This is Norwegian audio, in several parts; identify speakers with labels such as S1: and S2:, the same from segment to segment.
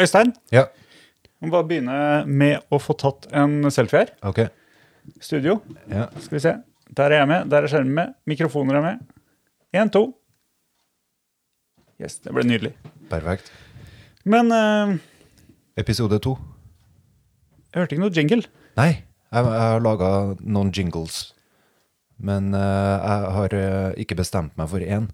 S1: Øystein,
S2: Ja,
S1: vi må bare begynne med å få tatt en selfie her.
S2: ok.
S1: Studio,
S2: Ja.
S1: skal vi se. Der er jeg med, der er skjermen med, mikrofoner er med. Én, to. Yes, det ble nydelig.
S2: Perfekt.
S1: Men eh,
S2: Episode to.
S1: jeg hørte ikke noe jingle.
S2: Nei, jeg, jeg har laga noen jingles. Men eh, jeg har eh, ikke bestemt meg for én.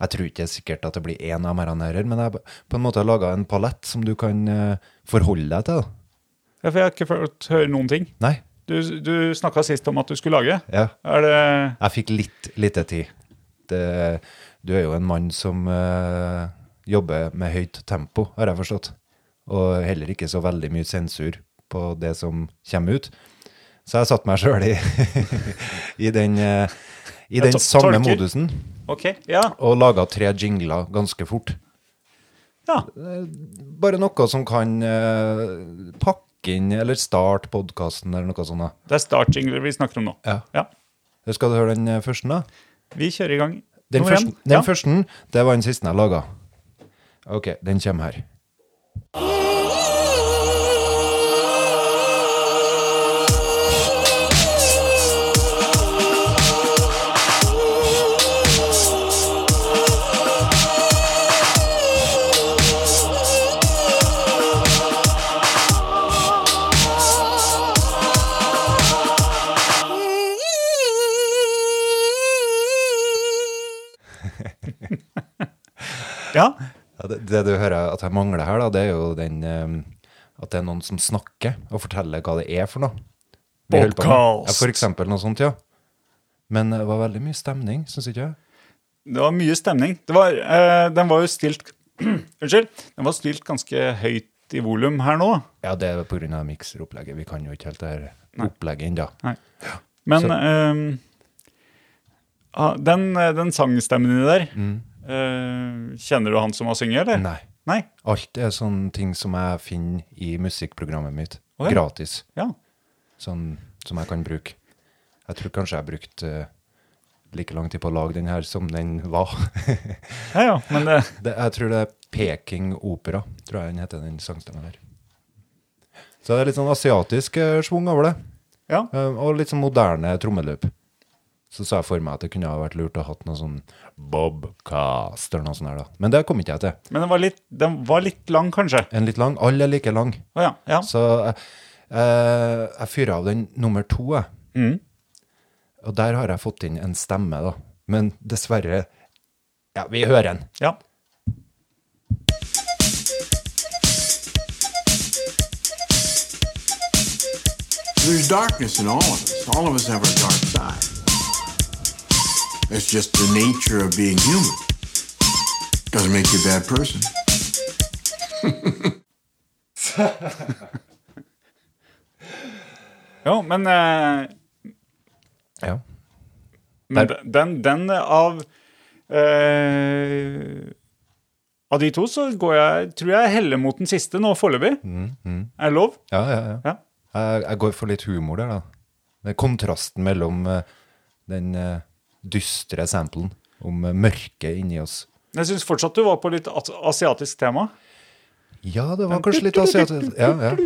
S2: Jeg tror ikke det er sikkert at det blir én av dem her, men jeg har på en måte laga en palett som du kan eh, forholde deg til. da.
S1: Ja, for jeg har ikke fått høre noen ting.
S2: Nei.
S1: Du, du snakka sist om at du skulle lage.
S2: Ja.
S1: Er det
S2: Jeg fikk litt lite tid. Det, du er jo en mann som eh, jobber med høyt tempo, har jeg forstått. Og heller ikke så veldig mye sensur på det som kommer ut. Så jeg satte meg sjøl i, i den, eh, i
S1: Jeg
S2: den
S1: to-
S2: samme
S1: tolker.
S2: modusen
S1: OK. Ja.
S2: og laga tre jingler ganske fort.
S1: ja.
S2: Bare noe som kan eh, pakke inn eller starte podkasten eller noe sånt. da.
S1: Det er startjingler vi snakker om nå.
S2: Ja.
S1: Ja.
S2: Skal du høre den eh, første, da?
S1: Vi kjører i gang.
S2: Den,
S1: Nummer én.
S2: første, den
S1: Ja.
S2: første, det var den siste jeg laga. OK, den kommer her.
S1: Ja.
S2: Ja, det, det du hører at jeg mangler her, da, det er jo den eh, at det er noen som snakker og forteller hva det er for noe. Vi holder på med. Ja,
S1: Podcast.
S2: for eksempel noe sånt, ja. Men eh, det var veldig mye stemning, syns ikke jeg.
S1: Det var mye stemning. Det var, eh, den var jo stilt Unnskyld. Den var stilt ganske høyt i volum her nå.
S2: Ja, det er pga. mikseropplegget. Vi kan jo ikke helt det her
S1: Nei.
S2: opplegget ennå.
S1: Men
S2: Så-
S1: eh, ah, den, eh, den sangstemmen din der eh, Kjenner du han som har sunget, eller?
S2: Mm. Nei.
S1: Nei?
S2: Alt er sånne ting som jeg finner i musikkprogrammet mitt.
S1: Å, ja.
S2: Gratis.
S1: Ja.
S2: sånn som jeg kan bruke. Jeg tror kanskje jeg brukte eh, like lang tid på å lage den her som den var.
S1: ja, ja. Men eh, det,
S2: det, jeg tror det er Peking Opera, tror jeg den heter, den sangstemmen her. Så det er litt sånn asiatisk eh, svung over det,
S1: ja.
S2: eh, og litt sånn moderne trommeløp. Så sa jeg for meg at det kunne ha vært lurt å ha hatt noe sånn Bobcast eller noe sånt her, da. Men det kom ikke jeg til.
S1: Men den var litt, den var litt lang, kanskje.
S2: En litt lang. Alle er like lang.
S1: Å ja. ja.
S2: Så eh, eh, jeg fyrer av den nummer to, jeg.
S1: Mm.
S2: Og der har jeg fått inn en stemme, da. Men dessverre Ja, vi hører den.
S1: ja.
S3: There's darkness in all of us. All of us have our dark side. That's just the nature of being human. Doesn't make you a bad person.
S1: Jo, men, eh,
S2: Ja.
S1: men den, den av eh, Av de to så går jeg, tror jeg jeg heller mot den siste nå foreløpig.
S2: Mm,
S1: Er det lov?
S2: Ja, ja, ja.
S1: Ja.
S2: Jeg, jeg går for litt humor der, da. Det er kontrasten mellom eh, den eh, dystre samplen om eh, mørket inni oss.
S1: Men Jeg syns fortsatt du var på litt as- asiatisk tema.
S2: Ja, det var kanskje litt asiatisk. Ja, ja.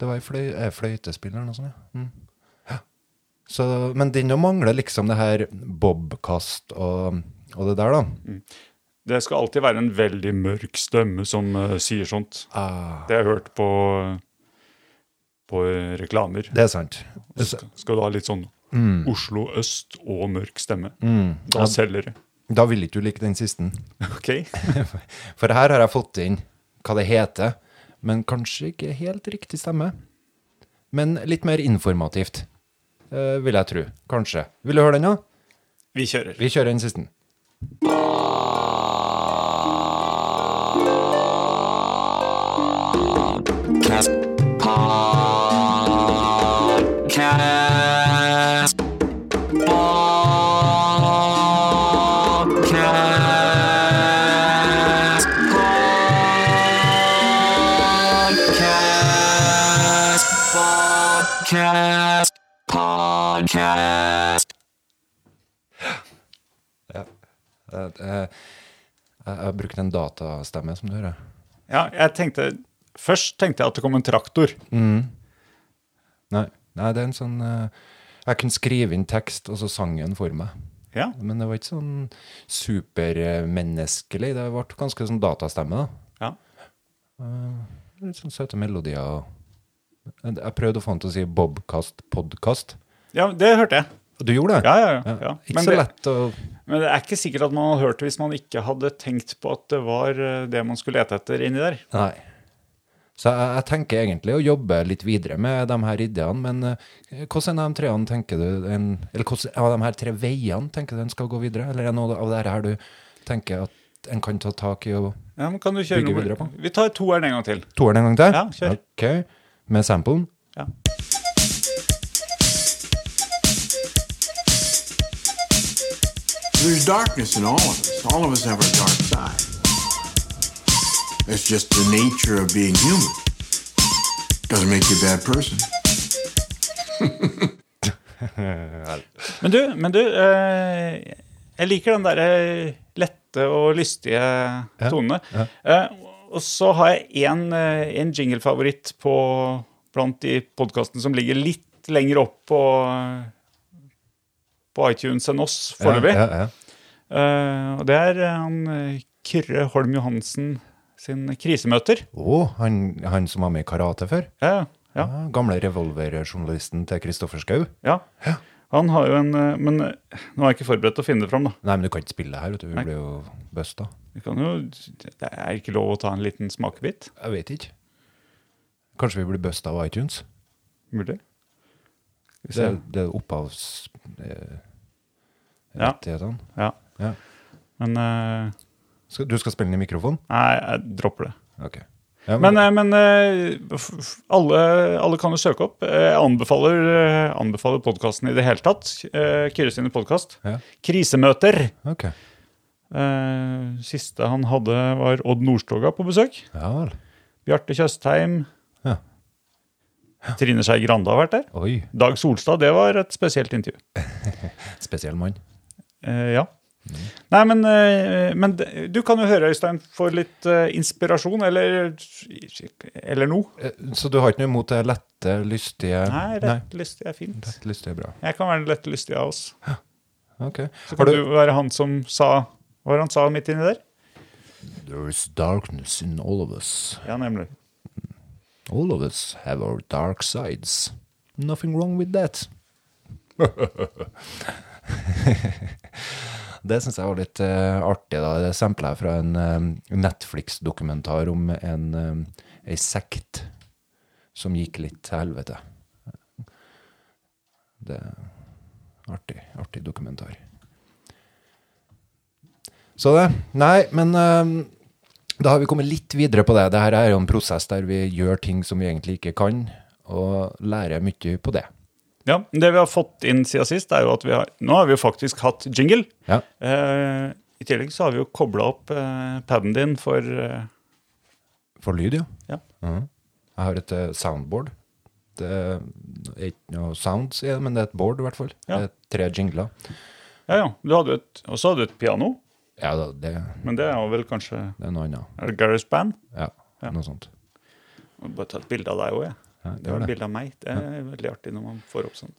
S2: Det var i fløy, eh, fløytespilleren og sånn, ja. Mm. Ja. Så, men den jo mangler liksom det her bobkast og, og det der, da.
S1: Det skal alltid være en veldig mørk stemme som eh, sier sånt.
S2: Ah,
S1: Det har jeg hørt på, på reklamer.
S2: det Mm. er sant.
S1: Skal, skal du ha litt sånn Oslo øst og mørk stemme?
S2: Mm.
S1: Da selger det.
S2: Da vil ikke du like den siste.
S1: Ok.
S2: For her har jeg fått inn hva det heter, men kanskje ikke helt riktig stemme. Men litt mer informativt, eh, vil jeg tro. Kanskje. Vil du høre den, da?
S1: Vi kjører.
S2: Vi kjører den siste. Jeg, jeg, jeg har brukt en datastemme, som du hører.
S1: Ja, jeg tenkte, først tenkte jeg at det kom en traktor.
S2: Mm. Nei, nei det er en sånn eh, Jeg kunne skrive inn tekst, og så sang den for meg.
S1: Ja,
S2: Men det var ikke sånn supermenneskelig. Det ble ganske sånn datastemme, da.
S1: ja.
S2: Litt sånn søte melodier og Jeg prøvde å få han til å si Bobkast podkast.
S1: ja det hørte jeg.
S2: Og du gjorde det?
S1: Ja, ja, ja. ja.
S2: Ikke
S1: Men
S2: så
S1: det-
S2: lett å
S1: Men det er ikke sikkert at man hadde hørt det hvis man ikke hadde tenkt på at det var eh, det man skulle lete etter inni der.
S2: Nei. Så jeg, jeg tenker egentlig å jobbe litt videre med de her ideene, men eh, hvordan er de treene tenker du en, Eller hvordan av de her tre veiene tenker du en skal gå videre? Eller er det noe av det her du tenker at en kan ta tak i? og
S1: Ja, men kan du kjøre
S2: Bygge
S1: noe-
S2: videre på.
S1: Vi tar toeren en gang til.
S2: Toeren en gang til?
S1: Ja, kjør.
S2: Ok, Med samplen?
S1: Ja.
S3: There's darkness in all of us. All of us have our dark side. It's just the nature of being human. Doesn't make you a bad person.
S1: Men du, men du eh, jeg liker den derre eh, lette og lystige tonene. Eh, og så har jeg én en jinglefavoritt på blant de podkastene som ligger litt lenger opp på, eh, på iTunes enn oss foreløpig.
S2: Ja, ja, ja.
S1: Eh, og det er eh, han eh, Kyrre Holm Johansen sin krisemøter.
S2: Å, han, han som var med i karate før?
S1: Ja, ja,
S2: Ja, gamle revolverjournalisten til Kristoffer Schau?
S1: ja. Han har jo en eh, Men eh, nå er jeg ikke forberedt til å finne det fram, da.
S2: Nei, men du kan ikke spille det her, vet du. Vi blir jo busta.
S1: Vi kan jo, det er ikke lov å ta en liten smakebit.
S2: Jeg vet ikke. Kanskje vi blir busta av iTunes?
S1: Mulig.
S2: Det, det er eh, opphavsrettighetene.
S1: Ja, ja.
S2: Ja.
S1: Men eh,
S2: Skal, du skal spille den i mikrofon?
S1: Nei, jeg dropper det.
S2: Ok. Ja,
S1: Men, eh, men eh, f- f- alle, alle kan jo søke opp. Eh, Jeg anbefaler, eh, anbefaler podkasten i det hele tatt. Eh, Kyrre sine podkast.
S2: Ja.
S1: Krisemøter.
S2: Ok.
S1: Eh, Siste han hadde, var Odd Nordstoga på besøk.
S2: Ja vel.
S1: Bjarte Tjøstheim.
S2: Ja.
S1: Trine Skei Grande har vært der.
S2: Oi,
S1: Dag Solstad, det var et spesielt intervju.
S2: spesiell mann.
S1: Eh, ja. Nei, men, eh, men d- du kan jo høre, Øystein, for litt eh, inspirasjon, eller, eller noe.
S2: Eh, Så du har ikke noe imot det lette, lystige
S1: Nei, lett lystig er fint.
S2: Lett, lystige, bra.
S1: Jeg kan være den lette lystige av oss.
S2: Ok.
S1: Så
S2: Har
S1: kan
S2: du
S1: du... være han som sa Hva var det han sa midt inni der?
S2: There is darkness in all of us.
S1: Ja, nemlig.
S2: All of us have our dark sides. Nothing wrong with that. det syns jeg var litt eh, artig. da. Det sampla jeg fra en eh, Netflix-dokumentar om en eh, ei sekt som gikk litt til helvete. Det er artig, artig dokumentar. Så det. Nei, men eh, da har vi kommet litt videre på det. Dette er jo en prosess der vi gjør ting som vi egentlig ikke kan, og lærer mye på det.
S1: Ja, men Det vi har fått inn siden sist, er jo at vi har Nå har vi jo faktisk hatt jingle.
S2: Ja.
S1: Eh, I tillegg så har vi jo kobla opp eh, paden din for eh,
S2: For lyd, ja.
S1: Ja.
S2: Mhm. Jeg har et eh, soundboard. Det er ikke noe sounds i det, men det er et board i hvert fall.
S1: Ja.
S2: Det er tre jingler.
S1: Ja, ja. Du hadde jo et, og så hadde du et piano,
S2: Ja, da, det,
S1: men det er jo vel kanskje Er
S2: det er noe annet.
S1: det Gareth Band?
S2: Ja, noe sånt.
S1: Jeg må bare ta et bilde av deg òg, jeg.
S2: Ja,
S1: Det var
S2: gjør
S1: et
S2: det.
S1: bilde av meg. Det er veldig artig når man får opp sånn.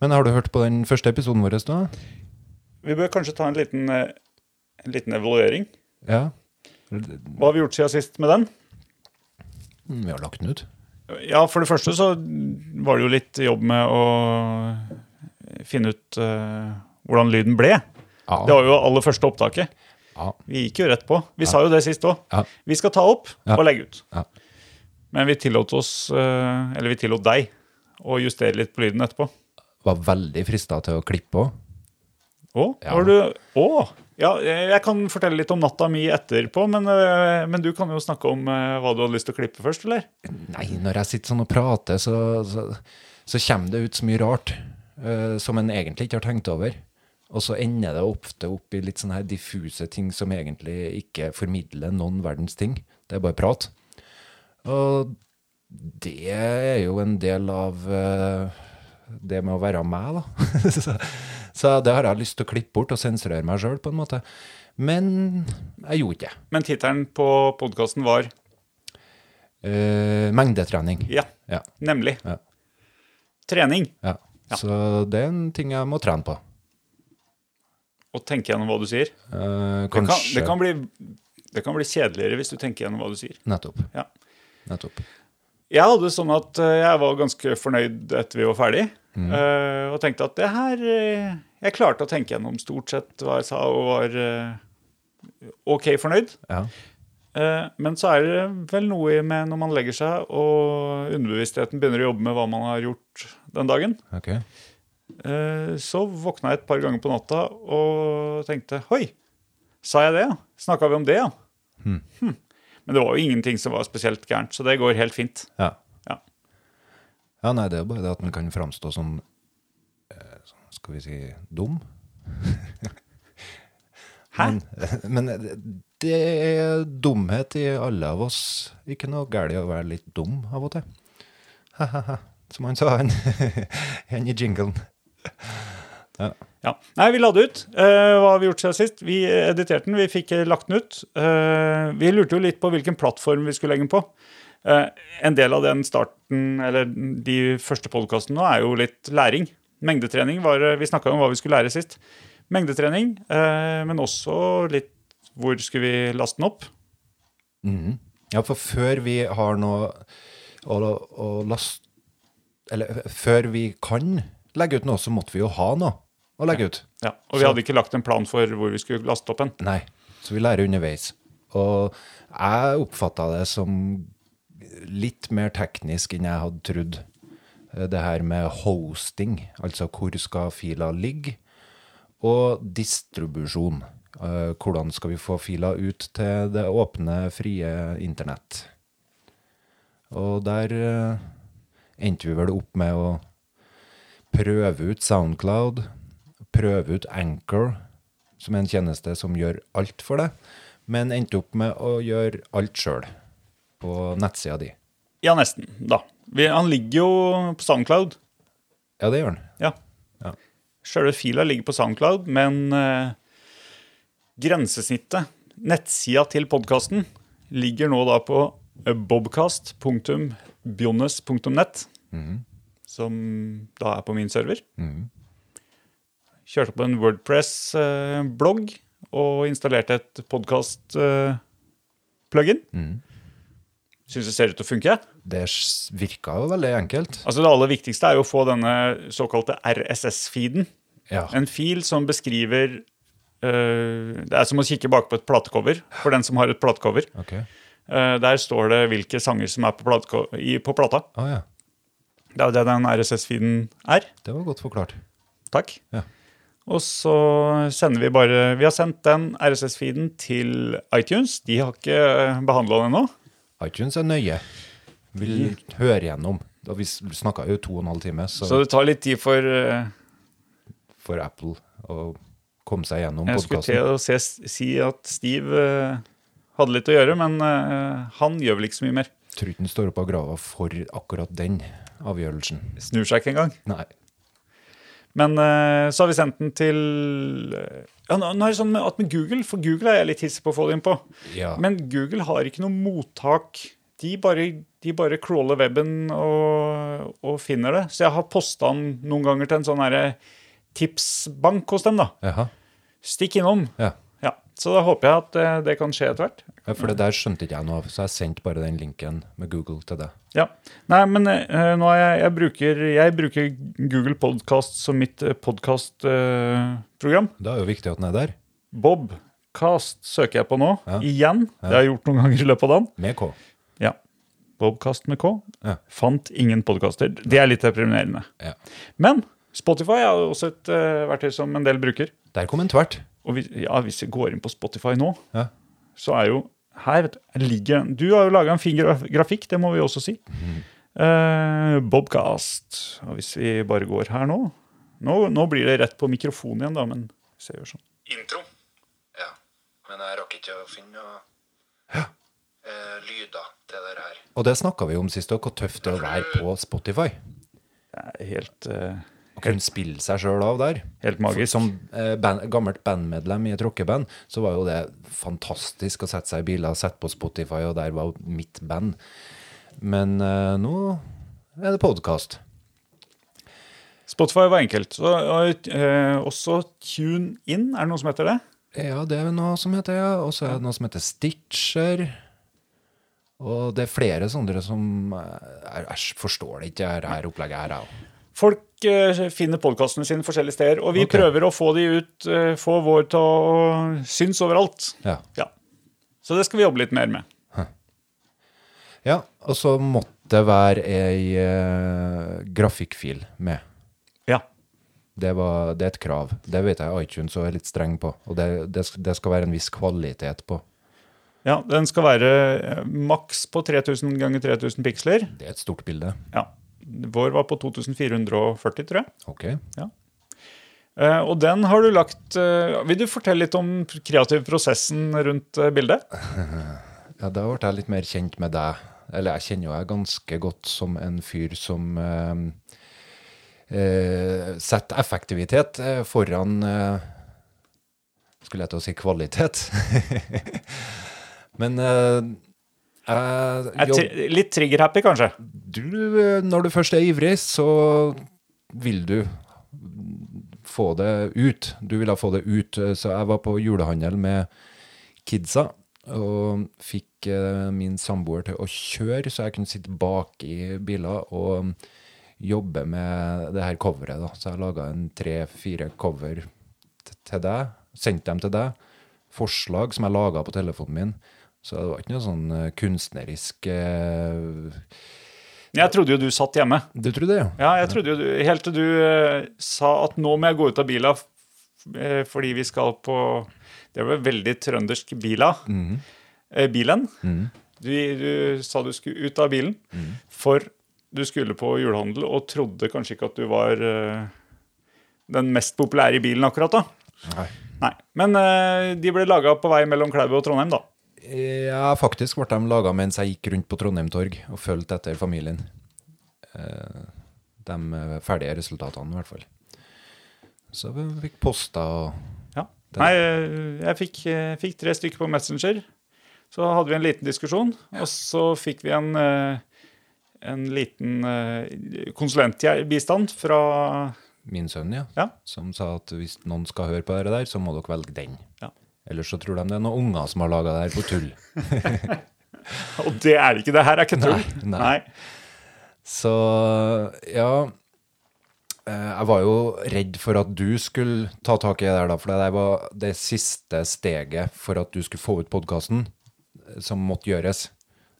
S2: Men har du hørt på den første episoden vår da?
S1: Vi bør kanskje ta en liten, eh, en liten evaluering.
S2: Ja.
S1: Hva har vi gjort siden sist med den?
S2: Mm, Vi har lagt den ut.
S1: Ja, for det første så var det jo litt jobb med å finne ut eh, hvordan lyden ble.
S2: Ja.
S1: Det var jo aller første opptaket.
S2: Ja.
S1: Vi gikk jo rett på. Vi sa jo det sist òg.
S2: Ja.
S1: Vi skal ta opp
S2: Ja.
S1: og legge ut.
S2: Ja.
S1: Men vi tillot oss, eh, eller vi tillot deg, å justere litt på lyden etterpå.
S2: Var veldig fristet til å klippe også.
S1: Å,
S2: Ja.
S1: har du Å! Ja, jeg kan fortelle litt om natta mi etterpå, men, eh, men du kan jo snakke om eh, hva du hadde lyst til å klippe først, eller?
S2: Nei, når jeg sitter sånn og prater, så, så, så kommer det ut så mye rart eh, som en egentlig ikke har tenkt over. Og så ender det ofte opp i litt sånne her diffuse ting som egentlig ikke formidler noen verdens ting. Det er bare prat. Og det er jo en del av eh, det med å være meg, da. så, Så det har jeg lyst til å klippe bort og sensurere meg sjøl, på en måte. Men jeg gjorde ikke det.
S1: Men tittelen på podkasten var
S2: Eh, mengdetrening.
S1: Ja,
S2: Ja.
S1: nemlig.
S2: Ja.
S1: Trening.
S2: Ja. Så det er en ting jeg må trene på.
S1: Og tenke gjennom hva du sier.
S2: Eh,
S1: Det kan,
S2: kanskje
S1: det, kan bli, det kan bli kjedeligere hvis du tenker gjennom hva du sier.
S2: Nettopp.
S1: Ja.
S2: Nettopp.
S1: Jeg hadde det sånn at eh, jeg var ganske fornøyd etter vi var ferdig, eh, og tenkte at det her eh, Jeg klarte å tenke gjennom stort sett hva jeg sa, og var eh, OK fornøyd.
S2: Ja.
S1: Eh, Men så er det vel noe med når man legger seg, og underbevisstheten begynner å jobbe med hva man har gjort den dagen.
S2: Ok.
S1: Eh, Så våkna jeg et par ganger på natta og tenkte Hoi, sa jeg det? ja? Snakka vi om det, ja? Hm. Men det var jo ingenting som var spesielt gærent, så det går helt fint.
S2: Ja.
S1: Ja.
S2: ja, nei, det er jo bare det at den kan framstå som eh, sånn, Skal vi si dum?
S1: Hæ?
S2: Men, men det er dumhet i alle av oss. Ikke noe galt i å være litt dum av og til. Ha-ha-ha, som han sa, han, han i jinglen.
S1: Ja. Nei, vi la det ut. Eh, hva har vi gjort siden sist? Vi editerte den, vi fikk eh, lagt den ut. Eh, vi lurte jo litt på hvilken plattform vi skulle legge den på. Eh, en del av den starten, eller de første podkastene nå, er jo litt læring. Mengdetrening var eh, Vi snakka om hva vi skulle lære sist. Mengdetrening, eh, men også litt hvor skulle vi laste den opp?
S2: Mhm. Ja, for før vi har noe å, å last... Eller før vi kan legge ut noe, så måtte vi jo ha noe å legge ut.
S1: Ja, Og vi hadde ikke lagt en plan for hvor vi skulle laste opp en.
S2: Nei, så vi lærer underveis. Og jeg oppfatta det som litt mer teknisk enn jeg hadde trodd. Eh, Det her med hosting, altså hvor skal filer ligge, og distribusjon. Eh, Hvordan skal vi få filer ut til det åpne, frie internett? Og der eh, endte vi vel opp med å prøve ut SoundCloud, prøve ut Anchor, som er en tjeneste som gjør alt for deg, men endte opp med å gjøre alt sjøl på nettsida di.
S1: Ja, nesten, da. Vi, han ligger jo på SoundCloud.
S2: Ja, det gjør den.
S1: Ja.
S2: Ja.
S1: Sjølve fila ligger på SoundCloud, men eh, grensesnittet, nettsida til podkasten, ligger nå da på eh, bobcast.bionnes.nett, som da er på min server. Kjørte på en Wordpress-blogg og installerte et podkast-plugin. Syns det ser ut til å funke.
S2: Det s- virka jo veldig enkelt.
S1: Altså Det aller viktigste er jo å få denne såkalte RSS-feeden.
S2: Ja.
S1: En fil som beskriver øh, Det er som å kikke bakpå et platecover, for den som har et platecover.
S2: Ok. Å
S1: Eh, der står det hvilke sanger som er på, plateko- i, på plata.
S2: ja.
S1: Det er jo det den RSS-feeden er.
S2: Det var godt forklart.
S1: Takk.
S2: Ja.
S1: Og så sender vi bare Vi har sendt den RSS-feeden til iTunes. De har ikke behandla den ennå.
S2: iTunes er nøye. Vil høre gjennom. Da vi snakka jo to og en halv time, så,
S1: Så det tar litt tid for eh,
S2: for Apple å komme seg gjennom
S1: Jeg skulle
S2: podkasten.
S1: til å se, si at Steve eh, hadde litt å gjøre, men eh, han gjør vel ikke så mye mer.
S2: Tror ikke den står opp av grava for akkurat den avgjørelsen.
S1: Snur seg ikke engang.
S2: Nei.
S1: Men eh, så har vi sendt den til eh, ja, Nå nå er det sånn med, at med Google, for Google er jeg litt hissig på å få det inn på.
S2: Ja.
S1: Men Google har ikke noe mottak. De bare, de bare crawler weben og, og finner det. Så jeg har posta den noen ganger til en sånn herre tipsbank hos dem. da.
S2: Jaha.
S1: Stikk innom.
S2: Ja.
S1: Ja, Så da håper jeg at eh, det kan skje etter hvert.
S2: Ja, for det der skjønte ikke jeg noe av, så jeg sendte bare den linken med Google til deg.
S1: Ja. Nei, men eh, nå er jeg, jeg, bruker, jeg bruker Google Podcast som mitt eh, uh, podkastprogram.
S2: Da er jo viktig at den er der,
S1: Bobcast søker jeg på nå,
S2: Ja.
S1: igjen. Det har jeg gjort noen ganger i løpet av dagen.
S2: med K.
S1: Ja. Bobcast med K.
S2: Ja.
S1: Fant ingen podkaster. Det er litt deprimerende.
S2: Ja.
S1: Men Spotify er også et eh, verktøy som en del bruker.
S2: Der kom en tvert.
S1: Og hvis, ja, hvis vi går inn på Spotify nå,
S2: Ja.
S1: så er jo her vet du, ligger Du har jo laga en fin graf- grafikk, det må vi også si.
S2: Mhm.
S1: Eh, Bobcast. Og hvis vi bare går her nå Nå, nå blir det rett på mikrofon igjen, da, men hvis jeg gjør sånn.
S4: Ja, men jeg rakk ikke å finne noe eh, lyder til det her.
S2: Og det snakka vi om sist òg, hvor tøft det er å være på Spotify.
S1: Det er helt eh,
S2: Å kunne spille seg sjøl av der.
S1: Helt magisk.
S2: For, som eh, band, gammelt bandmedlem i et rockeband, så var jo det fantastisk å sette seg i biler, sette på Spotify, og der var mitt band. Men eh, nå er det podkast.
S1: Spotify var enkelt. Så, og, eh, også TuneIn, er det noe som heter det?
S2: Ja, det er noe som heter ja. Og så er det noe som heter Stitcher. Og det er flere sånne som eh, Jeg forstår det ikke, det her- det her opplegget her, jeg òg.
S1: Folk eh, finner podkastene sine forskjellige steder, og vi
S2: Ok.
S1: prøver å få de ut, eh, få vår til å synes overalt.
S2: Ja.
S1: Ja. Så det skal vi jobbe litt mer med.
S2: ja. Og så måtte det være ei eh, grafikkfil med.
S1: Ja.
S2: Det, var, det er et krav. Det vet jeg iTunes også er litt streng på. Og det, det, sk- det skal være en viss kvalitet på.
S1: ja den skal være eh, maks på 3000 ganger 3000 piksler.
S2: Det er et stort bilde.
S1: Ja. Vår var på 2440, tror jeg.
S2: Ok.
S1: Ja. Eh, og den har du lagt eh, Vil du fortelle litt om kreativ prosessen rundt eh, bildet?
S2: Ja, da ble jeg litt mer kjent med deg. Eller jeg kjenner jo deg ganske godt som en fyr som eh, eh, setter effektivitet eh, foran eh, Skulle jeg til å si kvalitet. Men eh, jeg
S1: Er
S2: jobb-
S1: tri litt trigger-happy, kanskje?
S2: du, eh, når du først er ivrig, så vil du få det ut. Du vil ha få det ut. Eh, Så jeg var på julehandel med kidsa, og fikk eh, min samboer til å kjøre, så jeg kunne sitte bak i biler og mm, jobbe med det her coveret. Da. Så jeg laga en tre-fire cover t- til deg, sendte dem til deg. Forslag som jeg laga på telefonen min. Så det var ikke noe sånn eh, kunstnerisk eh,
S1: Jeg trodde jo du satt hjemme.
S2: du tror det, ja?
S1: Ja, jeg trodde jo du, Helt til du eh, sa at nå må jeg gå ut av bila f- eh, fordi vi skal på Det var veldig trøndersk bila. Eh, bilen. Du, du sa du skulle ut av bilen for du skulle på julehandel og trodde kanskje ikke at du var eh, den mest populære i bilen akkurat da.
S2: Nei.
S1: Nei. Men eh, de ble laga på vei mellom Klæbu og Trondheim, da.
S2: Ja, faktisk ble de laga mens jeg gikk rundt på Trondheim torg og fulgte etter familien. Eh, De eh, ferdige resultatene, i hvert fall. Så vi fikk posta og
S1: Ja.
S2: Det-
S1: Nei, eh, jeg fikk, eh, fikk tre stykker på Messenger. Så hadde vi en liten diskusjon, og så fikk vi en, eh, en liten eh, konsulentbistand fra
S2: min sønn, ja,
S1: Ja.
S2: som sa at hvis noen skal høre på det der, så må dere velge den.
S1: Ja.
S2: Ellers så tror de det er noen unger som har laga det her på tull.
S1: Og det er det ikke! Det her er ikke tull!
S2: Nei, nei. Så ja eh, Jeg var jo redd for at du skulle ta tak i det der, da, for det der var det siste steget for at du skulle få ut podkasten, som måtte gjøres.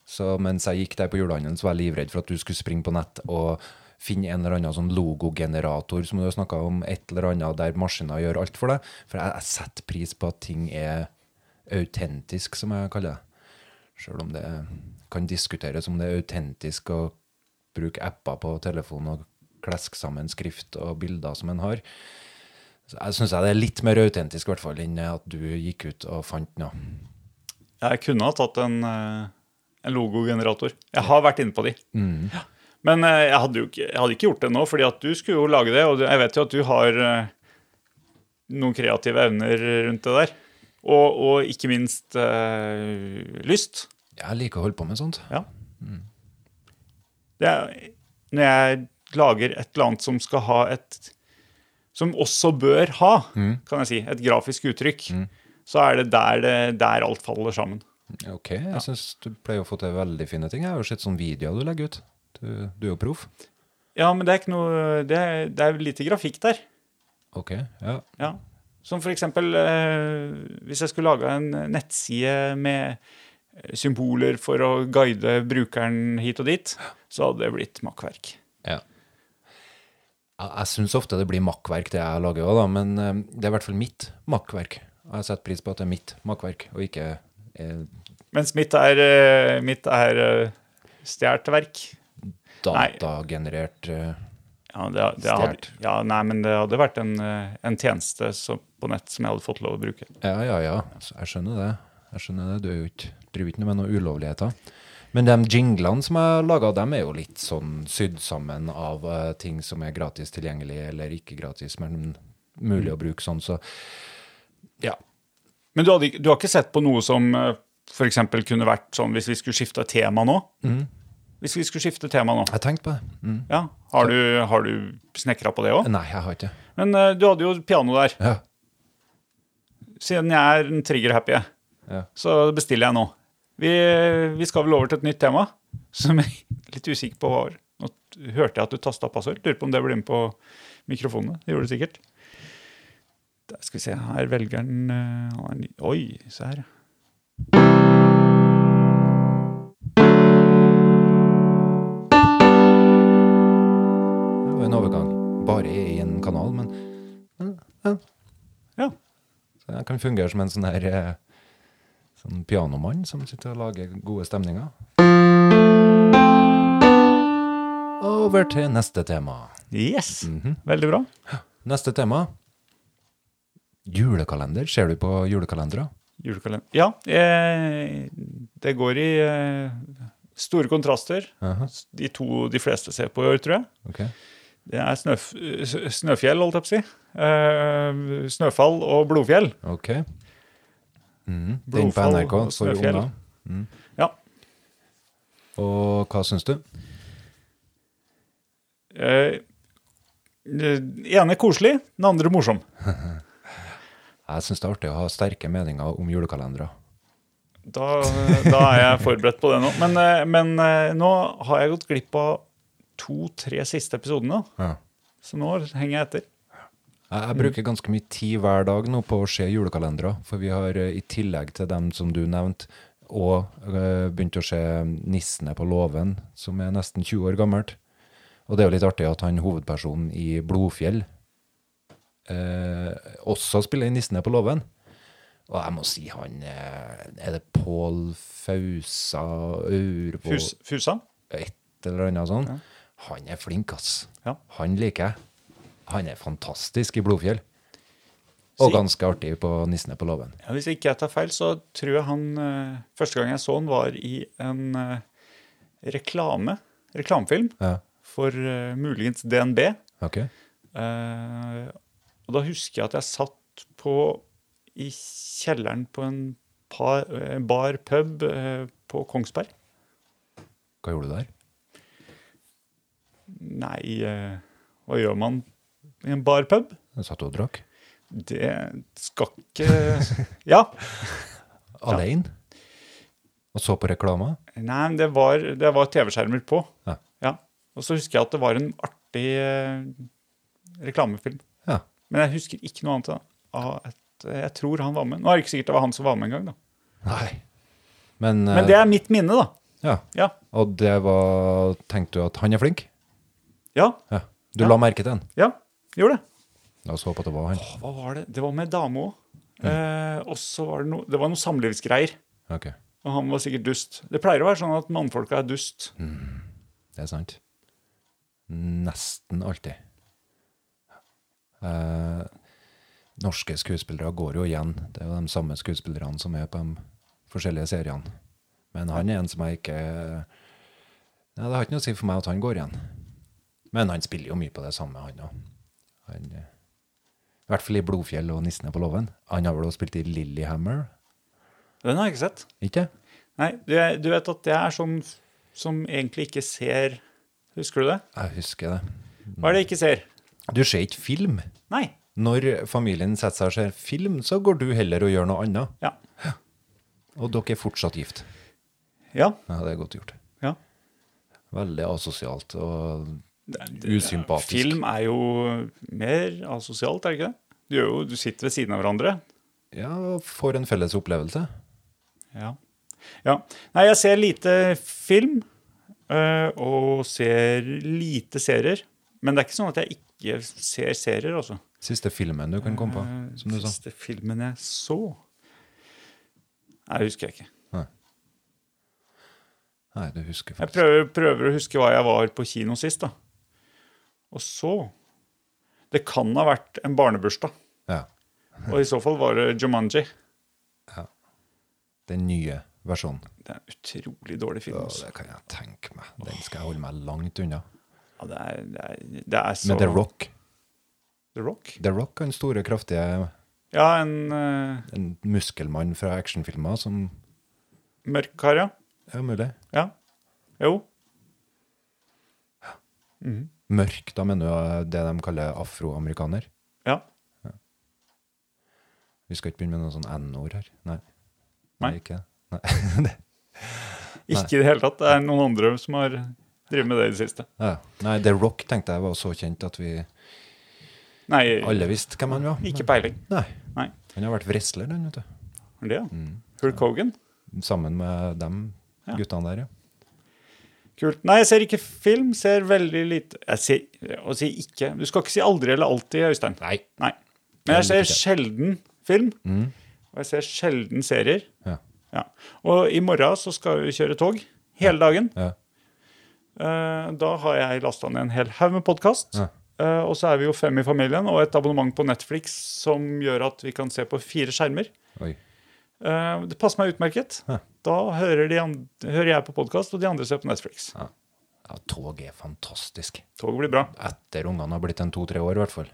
S2: Så mens jeg gikk der på julehandelen, så var jeg livredd for at du skulle springe på nett og finne en eller annen sånn logogenerator som du har snakka om, et eller annet der maskiner gjør alt for deg. For jeg, jeg setter pris på at ting er autentisk, som jeg kaller det. Sjøl om det kan diskuteres om det er autentisk å bruke apper på telefonen og kleske sammen skrift og bilder som en har. Så jeg syns det er litt mer autentisk i hvert fall enn at du gikk ut og fant noe.
S1: Jeg kunne ha tatt en, eh, en logogenerator. Jeg har vært inne på de. Ja. Men eh, jeg hadde jo ikke, jeg hadde ikke gjort det nå, fordi at du skulle jo lage det, og du- jeg vet jo at du har eh, noen kreative evner rundt det der. Og, og ikke minst eh, lyst.
S2: Jeg liker å holde på med sånt.
S1: Ja. Det er, når jeg lager et eller annet som skal ha et Som også bør ha, kan jeg si, et grafisk uttrykk, så er det der, det der alt faller sammen.
S2: Ok, jeg syns du pleier å få til veldig fine ting. Jeg har jo sett sånne videoer du legger ut. Du, du er jo proff.
S1: Ja, men det er ikke noe Det er, det er lite grafikk der.
S2: Ok, ja.
S1: Ja. Som for eksempel eh, hvis jeg skulle laga en nettside med eh, symboler for å guide brukeren hit og dit, så hadde det blitt makkverk.
S2: Ja. Jeg, jeg syns ofte det blir makkverk, det jeg lager òg, da, men eh, det er i hvert fall mitt makkverk. Og jeg setter pris på at det er mitt makkverk, og ikke eh,
S1: Mens mitt er, eh, mitt er eh, stjålet verk.
S2: datagenerert eh,
S1: Ja, det, det hadde,
S2: Stjert.
S1: ja, nei, men det hadde vært en, eh, en tjeneste som, på nett som jeg hadde fått lov å bruke.
S2: Altså, Ja, ja, ja. Så Jeg skjønner det. Jeg skjønner det. Du er jo ikke, driver ikke noe med noen ulovligheter. Men de jinglene som jeg laga, dem er jo litt sånn sydd sammen av eh, ting som er gratis tilgjengelig eller ikke gratis, men mulig å bruke sånn, så ja.
S1: Men du, hadde, ikke- du har ikke sett på noe som f.eks. kunne vært sånn hvis vi skulle skifte tema nå? Hvis vi skulle skifte tema nå,
S2: mm. Jeg tenkte på det. Mm.
S1: ja, har du, har du snekra på det òg?
S2: Nei, jeg har ikke det.
S1: Men eh, du hadde jo piano der.
S2: Ja.
S1: Siden jeg er en trigger-happy, jeg,
S2: Ja.
S1: så bestiller jeg nå. Vi, vi skal vel over til et nytt tema, som jeg er litt usikker på hva var. Nå t- hørte jeg at du tasta passord. Lurer på om det blir med på mikrofonene. Det gjorde det sikkert. Der skal vi se, her velger den eh, han er ny- Oi, se her.
S2: Det var en overgang. Bare i en kanal, men
S1: Ja.
S2: så jeg kan fungere som en sånn her eh, sånn pianomann som sitter og lager gode stemninger. Over til neste tema.
S1: Yes! Veldig bra.
S2: Neste tema. Julekalender. Ser du på julekalendere?
S1: Julekalender. Ja, eh, det går i eh, store kontraster.
S2: Aha.
S1: S- De to de fleste ser på i år, tror jeg.
S2: Ok.
S1: Det er snøf s- snøfjell, holdt jeg på å si. Eh, snøfall og blodfjell.
S2: Ok. Mhm. Den på
S1: Blodfall
S2: NRK,
S1: og
S2: så
S1: Snøfjell.
S2: unna.
S1: Ja.
S2: Og hva syns du?
S1: Eh, den ene koselig, den andre morsom.
S2: Jeg syns det er artig å ha sterke meninger om julekalendere.
S1: Da, da er jeg forberedt på det nå. Men, eh, men eh, nå har jeg gått glipp av to-tre siste episodene,
S2: Ja.
S1: så nå henger jeg etter.
S2: Jeg, jeg bruker ganske mye tid hver dag nå på å se julekalendere, for vi har eh, i tillegg til dem som du nevnte, og eh, begynt å se Nissene på låven, som er nesten 20 år gammelt. Og det er jo litt artig at han hovedpersonen i Blodfjell eh, også spiller i Nissene på låven. Og jeg må si han eh, Er det Pål Fausa Aurvåg
S1: Fus, fusa?
S2: et eller annet sånn. Han er flink, ass.
S1: Ja.
S2: Han liker jeg. Han er fantastisk i Blodfjell. Og
S1: Si-
S2: ganske artig på Nissene på låven.
S1: Ja, hvis ikke jeg tar feil, så tror jeg han eh, Første gang jeg så han, var i en eh, reklame, reklamefilm
S2: Ja.
S1: for eh, muligens DNB.
S2: Ok?
S1: Eh, og da husker jeg at jeg satt på i kjelleren på en par, eh, bar pub eh, på Kongsberg.
S2: Hva gjorde du der?
S1: Nei, eh, hva gjør man i en bar pub?
S2: Du satt og drakk?
S1: Det skal ikke Ja.
S2: Alene? Og så på reklama?
S1: Nei, men det var, det var TV-skjermer på.
S2: Ja.
S1: Og så husker jeg at det var en artig eh, reklamefilm.
S2: Ja.
S1: Men jeg husker ikke noe annet. da, av at eh, jeg tror han var med. Nå er det ikke sikkert det var han som var med engang. da.
S2: Nei. Men, eh,
S1: Men det er mitt minne, da.
S2: ja.
S1: Ja.
S2: Og det var Tenkte du at han er flink?
S1: Ja.
S2: Ja. Du
S1: Ja.
S2: la merke til han?
S1: ja. Gjorde det.
S2: La oss håpe at det var han.
S1: Åh, Hva var det? Det var med dame òg. Eh, og så var det noe Det var noe samlivsgreier.
S2: Ok,
S1: Og han var sikkert dust. Det pleier å være sånn at mannfolka er dust.
S2: Det er sant. Nesten alltid. Eh, norske skuespillere går jo igjen. Det er jo de samme skuespillerne som er på de forskjellige seriene. Men han er en som jeg ikke Nei, Det har ikke noe å si for meg at han går igjen. Men han spiller jo mye på det samme, han òg. Han, eh, I hvert fall i 'Blodfjell' og 'Nissene på låven'. Han har vel også spilt i 'Lillyhammer'?
S1: Den har jeg ikke sett.
S2: Ikke?
S1: Nei, du, du vet at jeg er sånn som egentlig ikke ser Husker du det?
S2: Jeg husker det.
S1: Hva er det jeg ikke ser?
S2: Du ser ikke film?
S1: Nei.
S2: Når familien setter seg og ser film, så går du heller og gjør noe annet.
S1: Ja.
S2: Og dere er fortsatt gift.
S1: Ja.
S2: Ja, det er godt gjort.
S1: ja.
S2: Veldig asosialt og usympatisk.
S1: Film er jo mer asosialt, er det ikke det? Du, gjør jo, du sitter ved siden av hverandre.
S2: Ja, får en felles opplevelse.
S1: Ja. ja. Nei, jeg ser lite film eh, og ser lite serier. Men det er ikke sånn at jeg ikke ser serier, altså.
S2: Siste filmen du kan komme på,
S1: Eh,
S2: som du sa.
S1: Siste filmen jeg så Nei, det husker jeg ikke.
S2: Nei, Nei du husker
S1: Jeg
S2: faktisk.
S1: prøver, prøver å huske hva jeg var på kino sist, da. Og så Det kan ha vært en barnebursdag.
S2: Ja,
S1: Og i så fall var det Jumanji.
S2: den nye versjonen.
S1: Det er en utrolig dårlig film.
S2: Ja,
S1: altså.
S2: det kan jeg tenke meg. Den skal jeg holde meg langt unna.
S1: Ja, det, er, det, er, det er så
S2: Men The Rock
S1: The Rock?
S2: The Rock er den store, kraftige
S1: Ja, en eh,
S2: en muskelmann fra actionfilmer som
S1: mørk kar, ja.
S2: er mulig.
S1: ja. Jo.
S2: Mørk, da mener du det de kaller afroamerikaner?
S1: Ja.
S2: Vi skal ikke begynne med noe sånn N-ord her. Nei.
S1: Nei.
S2: Nei, ikke. det. Nei. Det-
S1: Ikke i det hele tatt. Det er noen andre som har drevet med det i det siste.
S2: ja. Nei, The Rock tenkte jeg var så kjent at vi
S1: Nei,
S2: alle visste hvem han var. men-
S1: ikke peiling.
S2: Nei.
S1: Nei.
S2: Han har vært wrestler, han, vet
S1: Er det, ja?
S2: Mm.
S1: Hulk Hogan?
S2: du. Sammen med dem
S1: Ja.
S2: guttene der, ja.
S1: Kult. Nei, jeg ser ikke film. Ser veldig lite Jeg ser Å si ikke Du skal ikke si aldri eller alltid, Øystein.
S2: Nei.
S1: Men jeg ser
S2: Jeg
S1: sjelden film.
S2: Mm.
S1: Og jeg ser sjelden serier.
S2: Ja.
S1: Ja. Og i morgen så skal vi kjøre tog hele dagen.
S2: Ja.
S1: Eh, Da har jeg lasta ned en hel haug med podkast.
S2: Ja.
S1: Og så er vi jo fem i familien og et abonnement på Netflix som gjør at vi kan se på fire skjermer.
S2: Oi.
S1: Eh, Det passer meg utmerket.
S2: Ja.
S1: Da hører, de and- hører jeg på podkast, og de andre ser på Netflix.
S2: Ja. ja, tog er fantastisk.
S1: Toget blir bra.
S2: etter ungene har blitt en to-tre år, i hvert fall.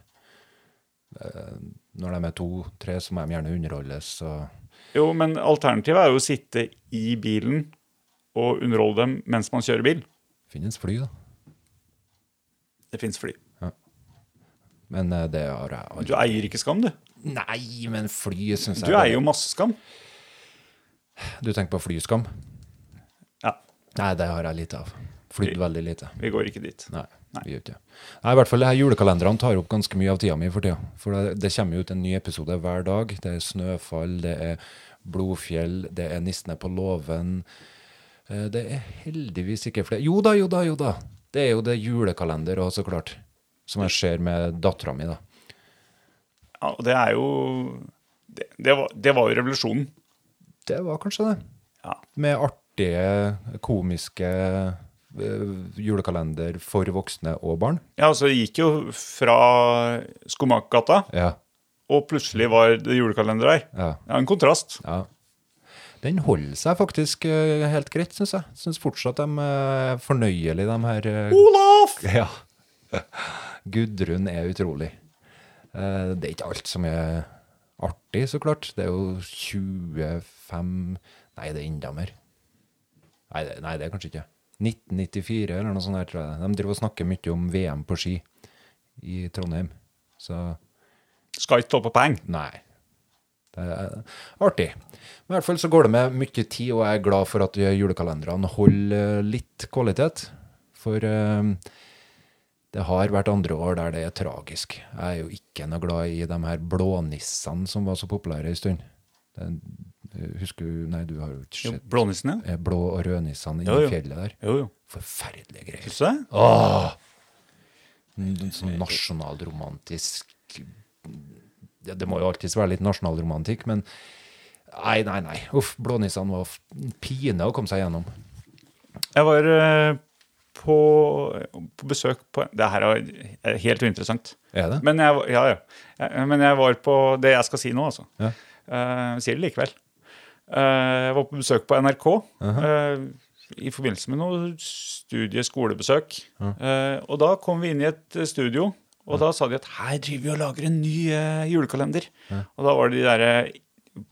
S2: Eh, Når de er to-tre, så må de gjerne underholdes. Og
S1: Jo, men alternativet er jo å sitte i bilen og underholde dem mens man kjører bil.
S2: finnes fly, da.
S1: Det fins fly.
S2: Men eh, det har jeg aldri
S1: Du eier ikke skam, du.
S2: Nei, men fly syns jeg
S1: Du eier jo masse skam.
S2: Du tenker på flyskam?
S1: Ja,
S2: Nei, det har jeg lite av. Flydd veldig lite.
S1: vi går ikke dit.
S2: Nei,
S1: Nei.
S2: vi gjør ikke det. Nei, i hvert fall, det her julekalenderen tar opp ganske mye av tida mi for tida. For det, det kommer jo ut en ny episode hver dag. Det er snøfall, det er blodfjell, det er nissene på låven. Eh, Det er heldigvis ikke flere Jo da, jo da, jo da! Det er jo det julekalender òg, så klart. Som jeg ser med dattera mi, da.
S1: Ja, og det er jo det, det, var, det var jo revolusjonen.
S2: Det var kanskje det.
S1: Ja.
S2: Med artige, komiske eh, julekalender for voksne og barn.
S1: ja, så det gikk jo fra Skomakergata,
S2: Ja.
S1: og plutselig var det julekalender her.
S2: ja.
S1: Ja, en kontrast.
S2: Ja. Den holder seg faktisk eh, helt greit, syns jeg. Syns fortsatt de er fornøyelige, de her eh,
S1: Olaf!
S2: Ja. Gudrun er utrolig. Eh, Det er ikke alt som er artig, så klart. Det er jo 25 Nei, det er enda mer. Nei, det, nei, det er kanskje ikke. 1994 eller noe sånt. Her, tror jeg. De driver og snakker mye om VM på ski i Trondheim. Så
S1: Skal ikke stå på peng.
S2: Nei. Det er artig. Men i hvert fall så går det med mye tid, og jeg er glad for at julekalenderne holder litt kvalitet. For eh, det har vært andre år der det er tragisk. Jeg er jo ikke noe glad i de her blånissene som var så populære en stund. Den- Husker du Nei, du har jo ikke
S1: Jo,
S2: sett
S1: Blånissen, ja.
S2: eh, blå- og rødnissene
S1: Jo, jo.
S2: inni fjellet der.
S1: Jo, jo.
S2: Forferdelige greier.
S1: Syns du det?
S2: En Sånn nasjonalromantisk det, det må jo alltids være litt nasjonalromantikk, men nei, nei, nei. Uff, blånissene var f- en pine å komme seg gjennom.
S1: Jeg var eh, på, på besøk på Det her er er helt uinteressant.
S2: Er det?
S1: Men jeg, var- ja, ja. Eh, Men jeg var på det jeg skal si nå, altså.
S2: Ja.
S1: Eh, jeg sier det likevel. Eh, jeg var på besøk på NRK eh, i forbindelse med noe studie-skolebesøk. Eh, og da kom vi inn i et eh, studio, og da sa de at her driver vi og lager en ny eh, julekalender. Og da var det de derre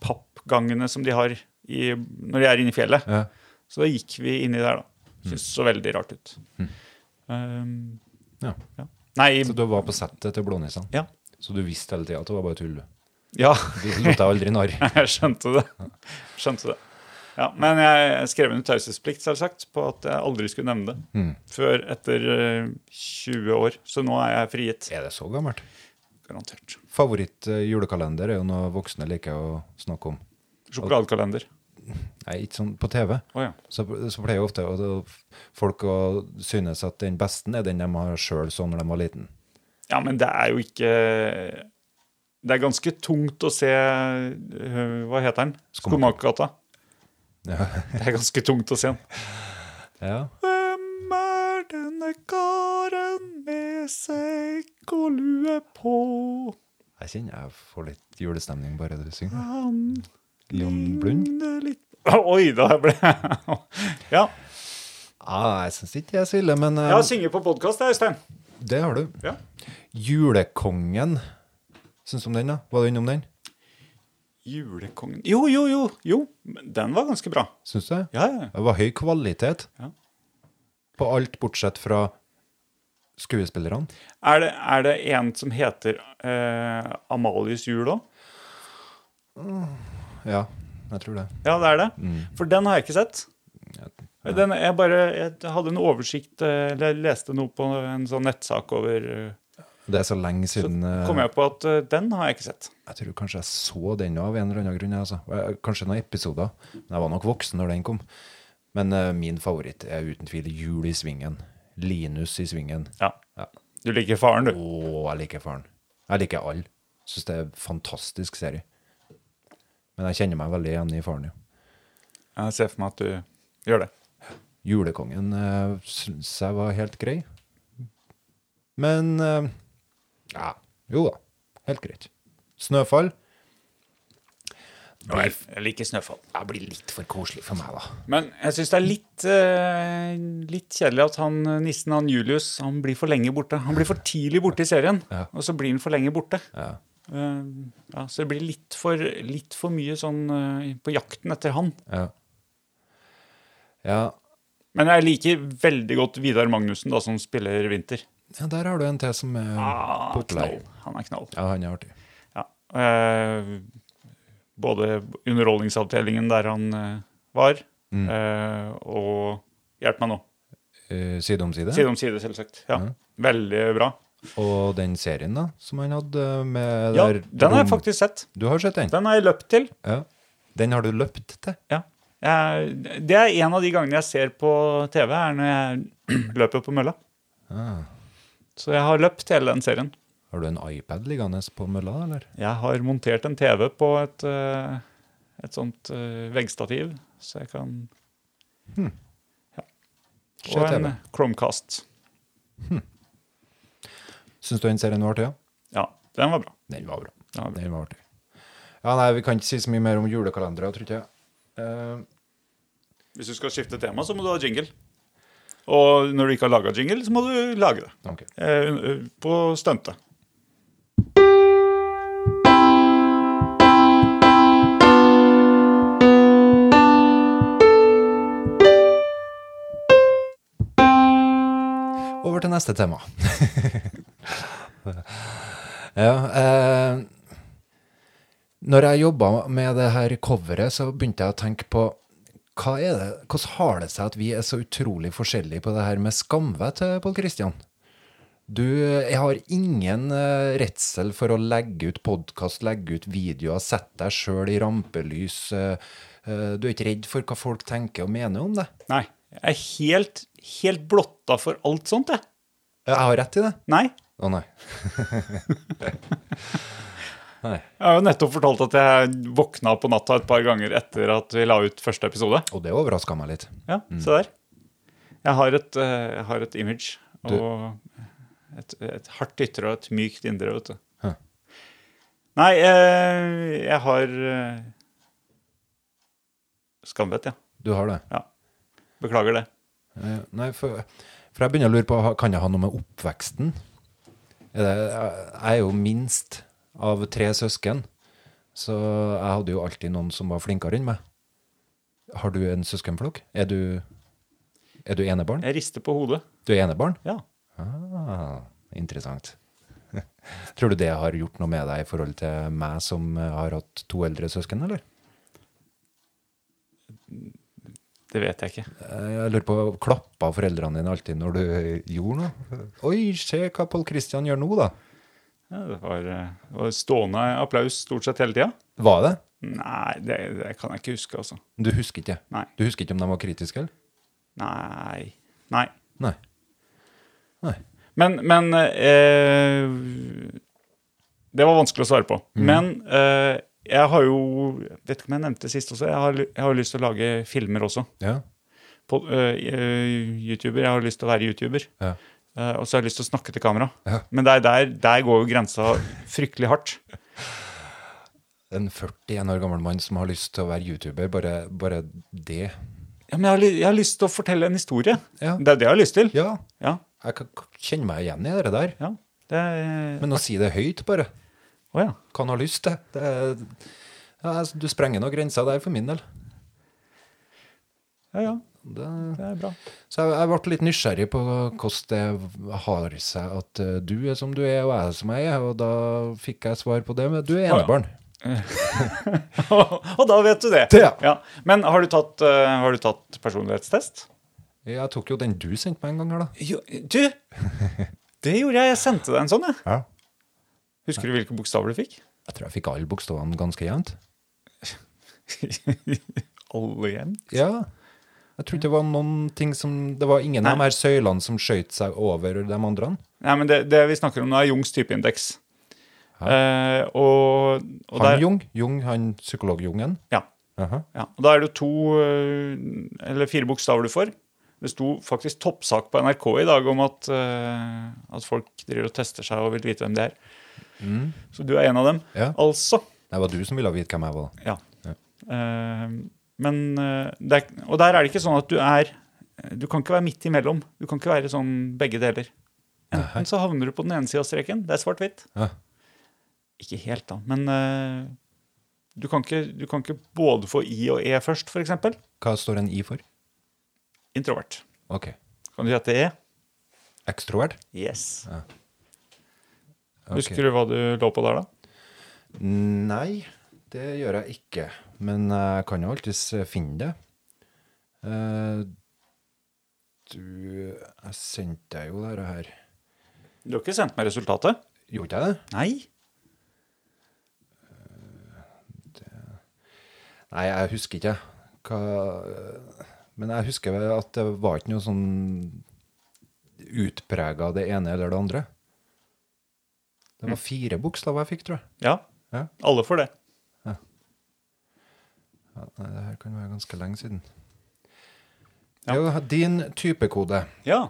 S1: pappgangene som de har i, når de er inne i fjellet.
S2: Ja.
S1: Så da gikk vi inni der, da.
S2: Mm.
S1: Syns det så veldig rart ut. Um,
S2: ja.
S1: ja. Nei,
S2: Så du var på settet til blånissene?
S1: ja.
S2: Så du visste hele tida at det var bare tull? du?
S1: Ja,
S2: Du lot deg aldri narr?
S1: jeg skjønte det. Skjønte det. Ja, men jeg skrev under taushetsplikt, selvsagt, på at jeg aldri skulle nevne det.
S2: Mm.
S1: Før etter eh, 20 år. Så nå er jeg frigitt.
S2: Er det så gammelt?
S1: Garantert.
S2: Favoritt-julekalender er jo noe voksne liker å snakke om.
S1: Sjokoladekalender.
S2: Nei, ikke sånn på TV.
S1: Å ja.
S2: Så, så pleier jo ofte å- å- folk å synes at den beste er den de har sjøl, sånn når de var liten.
S1: Ja, men det er jo ikke Det er ganske tungt å se eh, Hva heter den?
S2: Skomaker.
S1: Skomakergata.
S2: Ja.
S1: Det er ganske tungt å se den.
S2: ja.
S1: Hvem er denne karen med sekk og lue på?
S2: Jeg kjenner jeg får litt julestemning bare du synger.
S1: Han
S2: Jon Blund?
S1: ligner litt Oi, da ble Ja,
S2: Ja, jeg syns ikke det er så ille, men eh,
S1: jeg synger på podkast, Øystein.
S2: det har du.
S1: Ja.
S2: Julekongen, syns du om den, da? Var du innom den?
S1: Julekongen Jo, jo, jo. jo. Men Den var ganske bra.
S2: Syns du?
S1: Ja, ja.
S2: Det var høy kvalitet
S1: Ja.
S2: på alt bortsett fra skuespillerne.
S1: Er det, er det en som heter eh, Amalies jul òg?
S2: Ja, jeg tror det.
S1: Ja, det er det. For den har jeg ikke sett. Den, jeg bare jeg hadde en oversikt eh, Eller jeg leste noe på en sånn nettsak over eh,
S2: Det er så lenge
S1: Så
S2: siden eh,
S1: kom jeg på at eh, den har jeg ikke sett.
S2: Jeg tror kanskje jeg så den av en eller annen grunn. jeg, Altså. Eh, Kanskje noen episoder. Men jeg var nok voksen når den kom. Men eh, min favoritt er uten tvil Jul i svingen. Linus i svingen.
S1: Ja.
S2: Ja.
S1: Du liker faren, du.
S2: Å, jeg liker faren. Jeg liker alle. Syns det er en fantastisk serie. Men jeg kjenner meg veldig igjen i faren, jo.
S1: Jeg ser for meg at du gjør det.
S2: Julekongen uh, syns jeg var helt grei. Men eh, ja, jo da. Helt greit. Snøfall.
S1: Og jeg, jeg liker Snøfall.
S2: Det blir litt for koselig for meg, da.
S1: Men jeg syns det er litt, eh, litt kjedelig at han eh, nissen, han Julius, han blir for lenge borte. Han blir for tidlig borte i serien, og så blir han for lenge borte. Eh, ja, så det blir litt for, litt for mye sånn eh, på jakten etter han.
S2: Ja. Ja,
S1: Men jeg liker veldig godt Vidar Magnussen, da, som spiller Vinter.
S2: Ja, der har du en til som er
S1: Ah,
S2: populær.
S1: knall. Han er knall.
S2: Ja, han er artig.
S1: Ja. Eh, både Underholdningsavdelingen, der han eh, var, eh, og Hjelp meg nå.
S2: Eh, side om side.
S1: Side om side, selvsagt. Ja. Veldig bra.
S2: Og den serien da, som han hadde med
S1: Ja,
S2: der
S1: den har jeg
S2: rom-
S1: faktisk sett.
S2: Du har sett den?
S1: Den har jeg løpt til.
S2: Ja. Den har du løpt til?
S1: Ja. Jeg, det er en av de gangene jeg ser på TV, er når jeg løper på mølla. Så jeg har løpt hele den serien.
S2: Ah. Har du en iPad liggende på mølla, eller?
S1: Jeg har montert en TV på et, eh, et sånt eh, veggstativ, så jeg kan
S2: Se
S1: Og en eh,
S2: TV.
S1: Chromecast.
S2: Syns du den serien var artig? Ja?
S1: Ja, den var bra.
S2: Den var bra.
S1: Den var bra.
S2: Den var artig. Ja, nei, vi kan ikke si så mye mer om julekalendere, tror ikke jeg. Eh,
S1: Hvis du skal skifte tema, så må du ha jingle. Og når du ikke har laga jingle, så må du lage det.
S2: Ok.
S1: Eh, eh, på stuntet.
S2: Over til neste tema. ja, eh, når jeg jobba med det her coveret, så begynte jeg å tenke på hva er det, hvordan har det seg at vi er så utrolig forskjellige på det her med skamvett, eh, Pål Kristian? Du, jeg har ingen eh, redsel for å legge ut podkast, legge ut videoer, sette deg sjøl i rampelys. eh, eh, Du er ikke redd for hva folk tenker og mener om det?
S1: Nei. Jeg er helt, helt blotta for alt sånt, jeg.
S2: Jeg har rett i det?
S1: Nei.
S2: Å nei. nei.
S1: Jeg har jo nettopp fortalt at jeg våkna på natta et par ganger etter at vi la ut første episode.
S2: Og det overraska meg litt.
S1: Ja, se der. Jeg har et, eh, jeg har et image.
S2: Du-
S1: Og et, et hardt ytre og et mykt indre, vet du.
S2: Hæ.
S1: Nei, eh, jeg har eh, skamvett, ja.
S2: Du har det?
S1: ja. Beklager det.
S2: Eh, Nei, for, for jeg begynner å lure på ha- kan det ha noe med oppveksten Er det- Jeg er jo minst av tre søsken, så jeg hadde jo alltid noen som var flinkere enn meg. Har du en søskenflokk? Er du, er du enebarn?
S1: Jeg rister på hodet.
S2: Du er enebarn?
S1: Ja.
S2: Ah, interessant. Tror du det har gjort noe med deg i forhold til meg som eh, har hatt to eldre søsken, eller?
S1: Det vet jeg ikke.
S2: Eh, Jeg lurer på, klappa foreldrene dine alltid når du gjorde noe? Oi, se hva Pål Kristian gjør nå, da.
S1: Ja, det var, eh, det var stående applaus stort sett hele tida.
S2: Var det?
S1: Nei, det, det kan jeg ikke huske, altså.
S2: Du husker ikke?
S1: Nei.
S2: Du husker ikke om de var kritiske, eller?
S1: Nei. Nei.
S2: Nei. Nei.
S1: Men, men eh, Det var vanskelig å svare på.
S2: Mm.
S1: Men eh, jeg har jo Vet ikke om jeg nevnte det sist også. Jeg har, ly- jeg har lyst til å lage filmer også.
S2: Ja.
S1: På, eh, YouTuber. Jeg har lyst til å være YouTuber.
S2: Ja.
S1: Eh, og så har jeg lyst til å snakke til kamera.
S2: Ja.
S1: Men der, der, der går jo grensa fryktelig hardt.
S2: en 41 år gammel mann som har lyst til å være YouTuber, bare, bare det
S1: Ja, men jeg har, ly- jeg har lyst til å fortelle en historie.
S2: Ja.
S1: Det er det jeg har lyst til.
S2: Ja,
S1: Ja.
S2: jeg kan k- kjenne meg igjen i det der.
S1: ja. Det er
S2: Men å si det høyt, bare.
S1: Å ja.
S2: Hva han har lyst til. Det er, ja, altså, du sprenger noen grenser der, for min del.
S1: Ja, ja.
S2: Det,
S1: Det er bra.
S2: så jeg, jeg ble litt nysgjerrig på hvordan det har seg at eh, du er som du er, og jeg er som jeg er, og da fikk jeg svar på det. Men du er
S1: ja.
S2: enebarn.
S1: og da vet du det.
S2: Det, ja.
S1: Men har du tatt, eh, har du tatt personlighetstest?
S2: Jeg tok jo den du sendte meg en gang her, da.
S1: Jo, du! Det gjorde jeg. Jeg sendte deg en sånn. Jeg.
S2: Ja.
S1: Husker du hvilke bokstaver du fikk?
S2: Jeg tror jeg fikk alle bokstavene ganske jevnt.
S1: Alle igjen?
S2: Ja. Jeg tror ikke det var noen ting som Det var ingen av de her søylene som skjøt seg over de andre.
S1: Nei, men det, det vi snakker om nå, er Jungs typeindeks. Eh, og, og
S2: Han
S1: der,
S2: Jung, Jung, han psykolog-Jungen.
S1: Ja,
S2: Aha.
S1: ja. Og da er det jo to eh, eller fire bokstaver du får. Det sto faktisk toppsak på NRK i dag om at, eh, at folk driver og tester seg og vil vite hvem de er. Så du er en av dem.
S2: Ja.
S1: Altså.
S2: Det var du som ville vite hvem jeg var.
S1: Ja. Eh, men, eh, det er, og der er det ikke sånn at du er Du kan ikke være midt imellom. Du kan ikke være sånn begge deler. Enten så havner du på den ene sida av streken, det er svart-hvitt.
S2: Ja.
S1: Ikke helt, da, men eh, du, kan ikke, du kan ikke både få I og E først, f.eks.
S2: Hva står en I for?
S1: Introvert.
S2: Ok.
S1: Kan du hete E?
S2: Ekstrovert?
S1: Yes.
S2: Ok.
S1: Husker du hva du lå på der, da?
S2: Nei, det gjør jeg ikke. Men jeg kan jo alltids finne det. Eh, du Jeg sendte deg jo dette her.
S1: Du har ikke sendt meg resultatet?
S2: Gjorde jeg det?
S1: Nei.
S2: Nei, jeg husker ikke. Hva, men jeg husker vel at det var ikke noe sånn utprega det ene eller det andre. Det var fire bokstaver jeg fikk, tror jeg.
S1: Ja.
S2: Ja.
S1: Alle får det.
S2: Ja, nei, det her kan være ganske lenge siden.
S1: Ja.
S2: Jo, din typekode.
S1: Ja.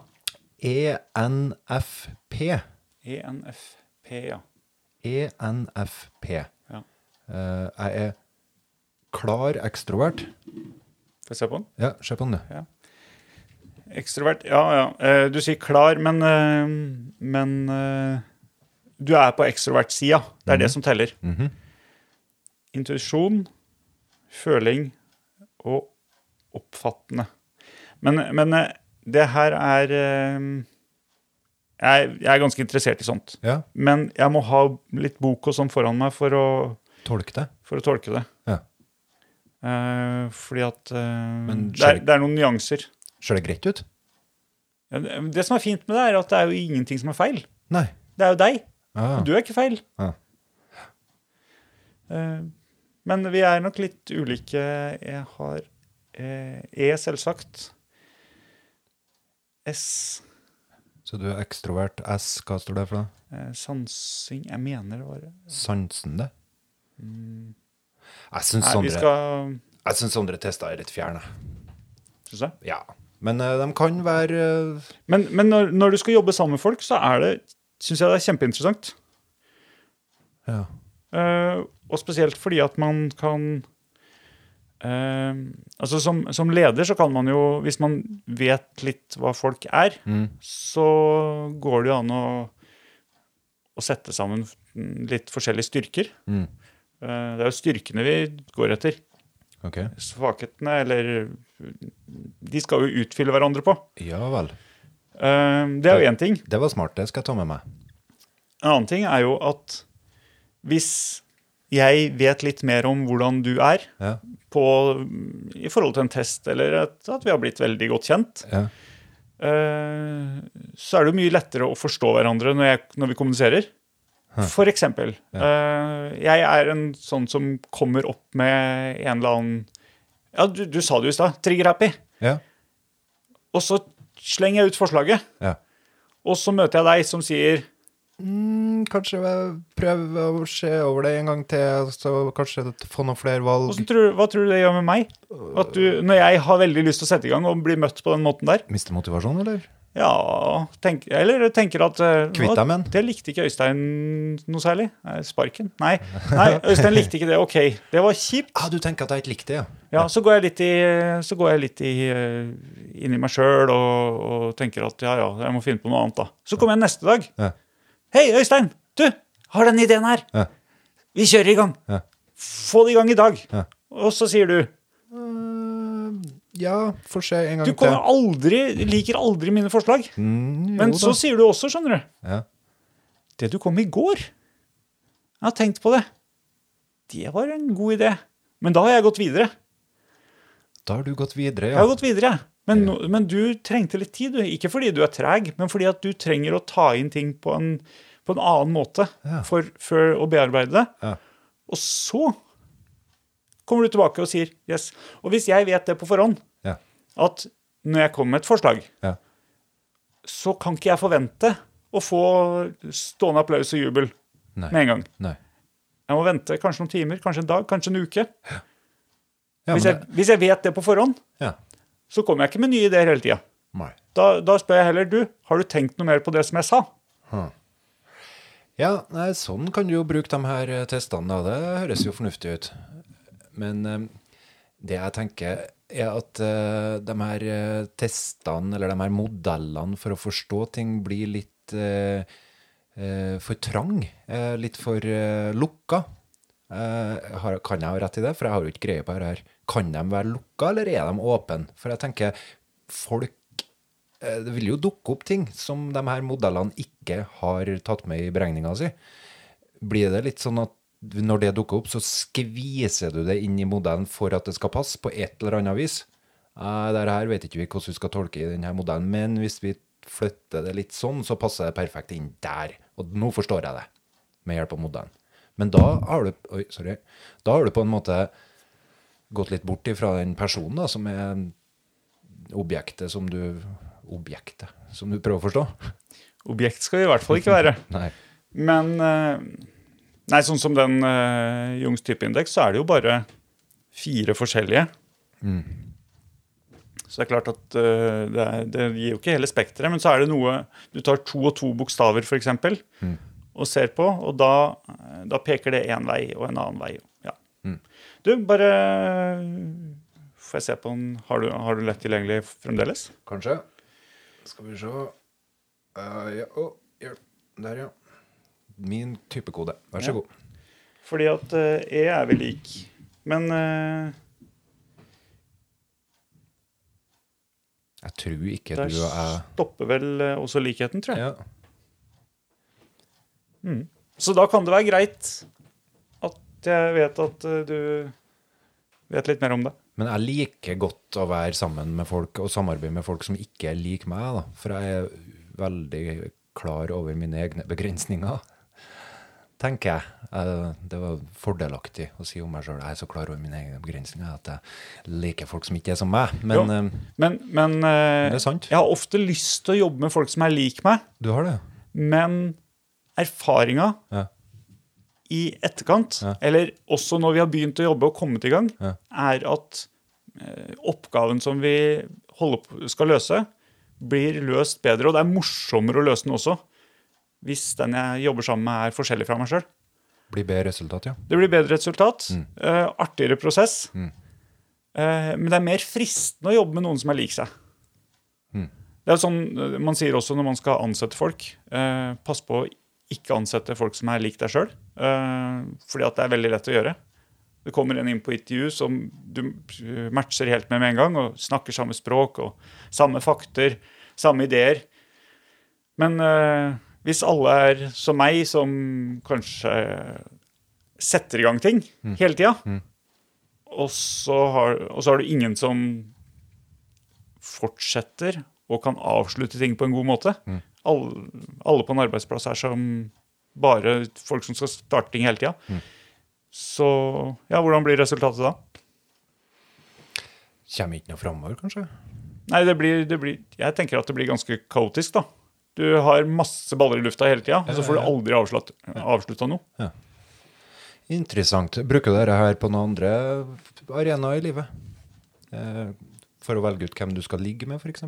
S2: E ENFP.
S1: E ENFP, ja.
S2: E ENFP.
S1: ja.
S2: Eh, jeg er klar ekstrovert.
S1: Får jeg se på den?
S2: Ja, se på den, du.
S1: Ekstrovert, ja ja. Eh, Du sier klar, men, eh, men eh, du er på ekstrovert-sida. Det
S2: Mhm.
S1: er det som teller. Intuisjon, føling og oppfattende. Men, men eh, det her er eh, jeg, jeg er ganske interessert i sånt.
S2: Ja,
S1: Men jeg må ha litt bok og sånn foran meg for å,
S2: tolk det.
S1: for å tolke det.
S2: Ja.
S1: Eh, fordi at eh,
S2: Men
S1: det, er,
S2: skjer-
S1: det er noen nyanser.
S2: Ser det greit ut?
S1: Ja, Det det som er fint med det, er at det er jo ingenting som er feil.
S2: Nei.
S1: Det er jo deg.
S2: Ah.
S1: Du er ikke feil.
S2: Ja.
S1: Eh, Men vi er nok litt ulike. Jeg har eh, E, selvsagt. S
S2: Så du er ekstrovert S, hva står det for da?
S1: eh, Sansing Jeg mener det var Nei,
S2: Sansende? Jeg syns
S1: vi
S2: Sondre,
S1: skal
S2: jeg synes Sondre testa er litt fjern, jeg.
S1: Syns jeg.
S2: Ja. Men eh, de kan være eh,
S1: Men, men når, når du skal jobbe sammen med folk, så er det syns jeg det er kjempeinteressant.
S2: ja.
S1: Eh, og spesielt fordi at man kan eh, Altså som, som leder så kan man jo Hvis man vet litt hva folk er, så går det jo an å, å sette sammen litt forskjellige styrker.
S2: Mm.
S1: Eh, det er jo styrkene vi går etter.
S2: Ok.
S1: Svakhetene, eller De skal jo utfylle hverandre på.
S2: Ja vel.
S1: Eh, det er jo én ting.
S2: Det var smart, det skal jeg ta med meg.
S1: En annen ting er jo at hvis jeg vet litt mer om hvordan du er
S2: Ja.
S1: på, mm, i forhold til en test, eller at, at vi har blitt veldig godt kjent,
S2: Ja.
S1: eh, så er det jo mye lettere å forstå hverandre når, jeg, når vi kommuniserer. For eksempel, eh, jeg er en sånn som kommer opp med en eller annen Ja, du, du sa det jo i stad. Trigger-happy.
S2: ja.
S1: Og så slenger jeg ut forslaget,
S2: ja.
S1: og så møter jeg deg som sier
S2: Mm, kanskje jeg prøve å se over det en gang til, så kanskje få noen flere valg.
S1: Hvordan tror, hva tror du det gjør med meg? At du, når jeg har veldig lyst til å sette i gang og bli møtt på den måten der?
S2: Miste motivasjon, eller?
S1: Ja tenk, Eller tenker at eh, nå-
S2: Kvitt deg med den.
S1: Det likte ikke Øystein noe særlig. Nei, Sparken? Nei. Nei, Øystein likte ikke det. Ok, det var kjipt.
S2: Ah, du tenker at jeg ikke likte det, ja.
S1: Ja, så går jeg litt i, så går jeg litt i eh, inni meg sjøl og, og tenker at ja, ja, jeg må finne på noe annet, da. Så kommer jeg neste dag.
S2: Ja.
S1: Hei, Øystein! Du, har den ideen her!
S2: Ja.
S1: Vi kjører i gang!
S2: Ja.
S1: Få det i gang i dag!
S2: Ja.
S1: Og så sier du
S2: Eh, Ja, får se en gang
S1: Du kommer aldri, liker aldri mine forslag.
S2: Mm,
S1: Men så sier du også, skjønner du.
S2: Ja.
S1: Det du kom med i går Jeg har tenkt på det. Det var en god idé. Men da har jeg gått videre.
S2: Da har du gått videre,
S1: Jeg har
S2: ja.
S1: gått videre. jeg. Men, nå- men du trengte litt tid, du. Ikke fordi du er treg, men fordi at du trenger å ta inn ting på en, på en annen måte
S2: Ja.
S1: for, for å bearbeide det.
S2: Ja.
S1: Og så kommer du tilbake og sier yes. Og hvis jeg vet det på forhånd,
S2: Ja.
S1: at når jeg kommer med et forslag,
S2: Ja.
S1: så kan ikke jeg forvente å få stående applaus og jubel
S2: Nei.
S1: med en gang.
S2: Nei.
S1: Jeg må vente kanskje noen timer, kanskje en dag, kanskje en uke.
S2: Ja, men
S1: Hvis jeg,
S2: det,
S1: hvis jeg vet det på forhånd,
S2: ja.
S1: så kommer jeg ikke med nye ideer hele tida.
S2: Nei.
S1: Da, da spør jeg heller du, har du tenkt noe mer på det som jeg sa?
S2: Ja, nei, sånn kan du jo bruke de her eh, testene, da. Det høres jo fornuftig ut. Men eh, det jeg tenker, er at eh, de her eh, testene, eller de her modellene for å forstå ting, blir litt eh, eh, for trang. eh, litt for eh, lukka. Eh, har, kan jeg ha rett i det? For jeg har jo ikke greie på dette her. Kan de være lukka, eller er de åpne? For jeg tenker, folk Eh, det vil jo dukke opp ting som de her modellene ikke har tatt med i beregninga si. Blir det litt sånn at når det dukker opp, så skviser du det inn i modellen for at det skal passe på et eller annet vis? Nei, det her vet ikke vi hvordan vi skal tolke i denne modellen, men hvis vi flytter det litt sånn, så passer det perfekt inn der. Og nå forstår jeg det, med hjelp av modellen. Men da har du, oi, sorry, da har du på en måte gått litt bort ifra den personen da, som er objektet som du Objektet som du prøver å forstå?
S1: Objekt skal vi i hvert fall ikke være.
S2: Nei.
S1: Men eh, Nei, sånn som den eh, Jungs typeindeks, så er det jo bare fire forskjellige. Så det er klart at eh, det, er, det gir jo ikke hele spekteret, men så er det noe Du tar to og to bokstaver, f.eks., og ser på, og da, eh, da peker det én vei og en annen vei. Ja. Du, bare Får jeg se på den? Har du, har du lett tilgjengelig fremdeles?
S2: Kanskje. Skal vi se Eh, ja. Å, hjelp. Der, ja. Min typekode. Vær så
S1: Ja.
S2: god.
S1: Fordi at eh, E er vel lik. Men eh,
S2: Jeg tror ikke
S1: Der
S2: du og jeg
S1: stopper vel eh, også likheten, tror jeg.
S2: ja.
S1: Så da kan det være greit at jeg vet at eh, du vet litt mer om det.
S2: Men jeg liker godt å være sammen med folk og samarbeide med folk som ikke er lik meg, da. For jeg er veldig klar over mine egne begrensninger, tenker jeg. Eh, Det var fordelaktig å si om meg sjøl. Jeg er så klar over mine egne begrensninger at jeg liker folk som ikke er som meg. Men
S1: Jo.
S2: eh,
S1: Men, men eh,
S2: Det er sant.
S1: jeg har ofte lyst til å jobbe med folk som er lik meg,
S2: du har det?
S1: men erfaringa
S2: Ja.
S1: i etterkant,
S2: Ja.
S1: eller også når vi har begynt å jobbe og kommet i gang,
S2: Ja.
S1: er at eh, oppgaven som vi holder på, skal løse, blir løst bedre. Og det er morsommere å løse den også, hvis den jeg jobber sammen med, er forskjellig fra meg sjøl.
S2: Blir bedre resultat, ja.
S1: Det blir bedre resultat, eh, artigere prosess. Eh, men det er mer fristende å jobbe med noen som er lik seg. Det er jo sånn eh, Man sier også når man skal ansette folk, eh, pass på å ikke ansette folk som er lik deg sjøl. Eh, fordi at det er veldig lett å gjøre. Det kommer en inn på intervju som du eh, matcher helt med med en gang, og snakker samme språk og samme fakter, samme ideer. Men eh, hvis alle er som meg, som kanskje setter i gang ting hele tida, og, så har- og så har du ingen som fortsetter og kan avslutte ting på en god måte alle, alle på en arbeidsplass er som bare folk som skal starte ting hele tida. Så ja, hvordan blir resultatet da?
S2: Kommer ikke noe framover, kanskje?
S1: Nei, det blir, det blir, jeg tenker at det blir ganske kaotisk, da. Du har masse baller i lufta hele tida, og så får du aldri avslutta noe.
S2: Interessant. Bruker du dette her på noen andre arenaer i livet? Eh, For å velge ut hvem du skal ligge med, f.eks.?